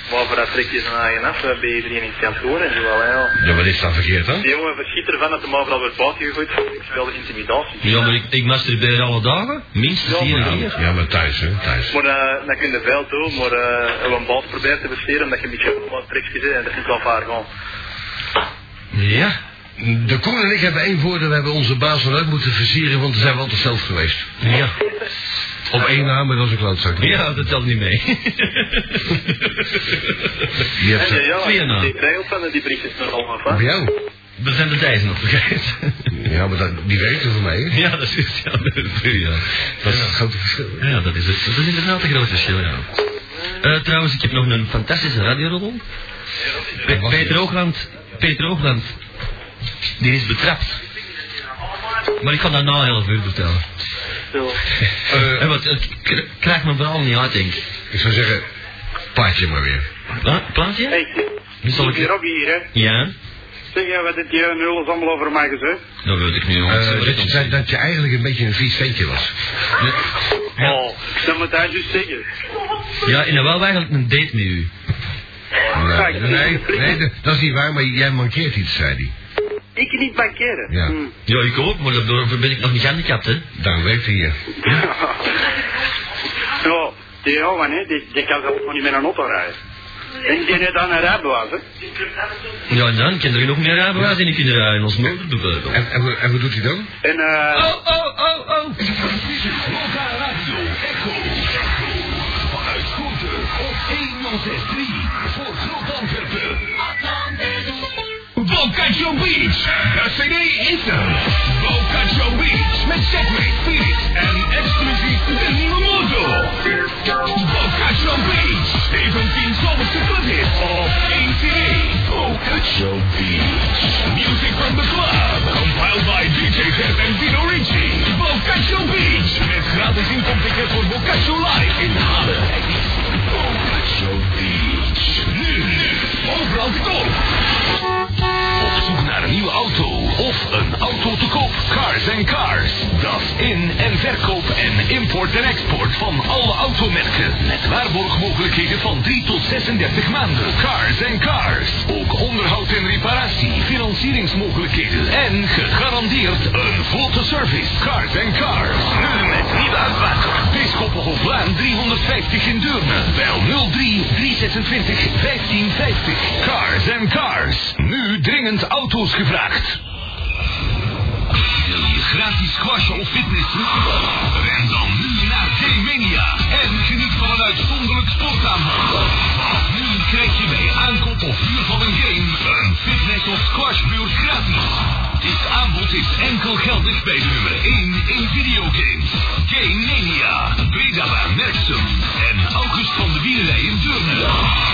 E: Waarvoor dat trek je zijn eigen af, eh, bij iedereen in het geld gewoon en zo wel, hè, joh.
H: Ja, wat is dan verkeerd dan?
E: Die jongen verschiet ervan dat hem overal wordt buiten gegooid voor seksuele intimidatie.
K: Ja, maar ik, ik masturbeer alle dagen. Minstens
E: Ja,
K: hier
E: maar-
K: en hier.
H: Ja, maar thuis, hè, thuis.
E: Maar eh, dan kun je wel doen, maar eh, een bal proberen te besteden omdat je een beetje wat trekjes zit en dat vind ik wel vaar gewoon.
K: Ja.
H: De Koen en ik hebben één voordeel, we hebben onze baas wel uit moeten versieren, want we zijn wel te zelf geweest.
K: Ja.
H: Op één naam, maar dat is een klootzak.
K: Ja, dat telt niet mee.
H: Die
E: En
H: hebt
E: die
H: ze...
K: twee
E: jongen,
K: na.
E: die regelt van die briefjes nog allemaal
H: Bij
E: van.
H: jou?
K: We zijn de Dijzen nog vergeten.
H: Ja, maar dat, die werkte voor mij, hè?
K: Ja, dat is ja, dat is- ja.
H: Dat is het grote verschil.
K: Ja, dat is het. Dat is inderdaad een groot verschil, ja. Eh, trouwens, ik heb nog een fantastische radiorodel. Pe- Peter Oogland, Peter Oogland, die is betrapt. Maar ik kan daar na heel veel vertellen.
E: Zo.
K: Eh want het k- krijgt me vooral niet uit, denk ik.
H: Ik zou zeggen, paardje maar weer.
K: Pla- Plaatje?
E: Hey,
K: Zal ik-
E: die Robbie hier, hè.
K: Ja?
E: Zeg jij wat dit hier een nul is allemaal over mij gezegd?
K: Dat weet ik niet, jongens.
H: Eh,
K: Dat
H: dat,
K: weet
H: je,
K: ik
H: zei
K: niet.
H: dat je eigenlijk een beetje een vies ventje was.
K: Ja.
E: Oh, dat moet hij juist zeggen.
K: Ja, en dan wel eigenlijk een date met u.
H: Nee,
E: Kijk,
H: nee, nee, dat- dat is niet waar, maar jij mankeert iets, zei hij.
E: Ik niet bankeren.
H: Ja.
E: Hm.
K: Ja, ik ook, maar daarvoor ben ik nog niet gehandicapt, hè.
H: Daarom werkte hij hier.
E: Ja, die jongen, hè, die, die kan zelf niet met een auto rijden. En die net aan een rijbewijs, hè.
K: Ja, en dan kinderen nog meer rijbewijs en ik kinderen in ons moeder bijvoorbeeld.
H: En, en, wat- en wat doet hij dan?
E: En eh...
K: Oh, oh, oh, oh.
A: Bocacho Beach, de CD is er. Bocacho Beach met Segway, Phoenix en exclusief de nieuwe motor. Bocacho Beach, 17 zomerse clubhits op één CD. Bocacho Beach, music from the club, compiled by DJ Zef en Dino Ricci. Bocacho Beach, met gratis inkomticket voor Bocacho Live in Halen. Bocacho Beach, nu, nu, overal te koop. Op zoek naar een nieuwe auto of een auto te koop. Cars and Cars. Dat in- en verkoop en import en export van alle automerken. Met waarborgmogelijkheden van 3 tot 36 maanden. Cars and Cars. Ook onderhoud en reparatie, financieringsmogelijkheden en gegarandeerd een vlotte service. Cars and Cars. Nu met nieuwe uitbater. Bisschoppenhoflaan 350 in Deurne. Bel 03 326 1550. Cars and Cars. Nu dringend auto's gevraagd. Wil je gratis squash of fitnessen? Ren dan nu naar J-Mania en geniet van een uitzonderlijk sportaanbod. Want nu krijg je bij aankoop of huur van een game een fitness- of squashbeurt gratis. Dit aanbod is enkel geldig bij de nummer 1 in videogames. J-Mania, Bredabaan Merksum en August van de Wielerij in Deurne.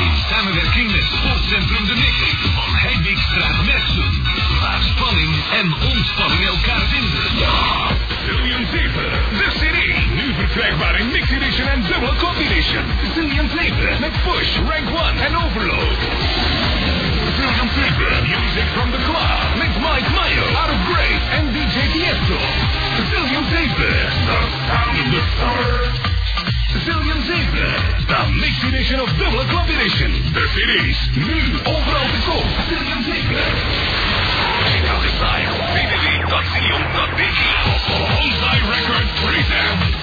A: In samenwerking met Sportcentrum De Nek van Heidwigstraat Merksum. Waar spanning en ontspanning elkaar vinden. Zillion Taper, de CD. Nu verkrijgbaar in Mixed Edition en Double Copy Edition. Zillion Taper met Push, Rank 1 en Overload. Zillion Taper, music from the club. Met Mike Mayo, Out of Grace en DJ Tiesto. Zillion Taper, the sound of the summer. Zillion Taper, the Mixed Edition of Double Club Edition. De CD's, nu overal te koop. Zillion Taper. Check out the site www.zillion.be. Bonsai Record presents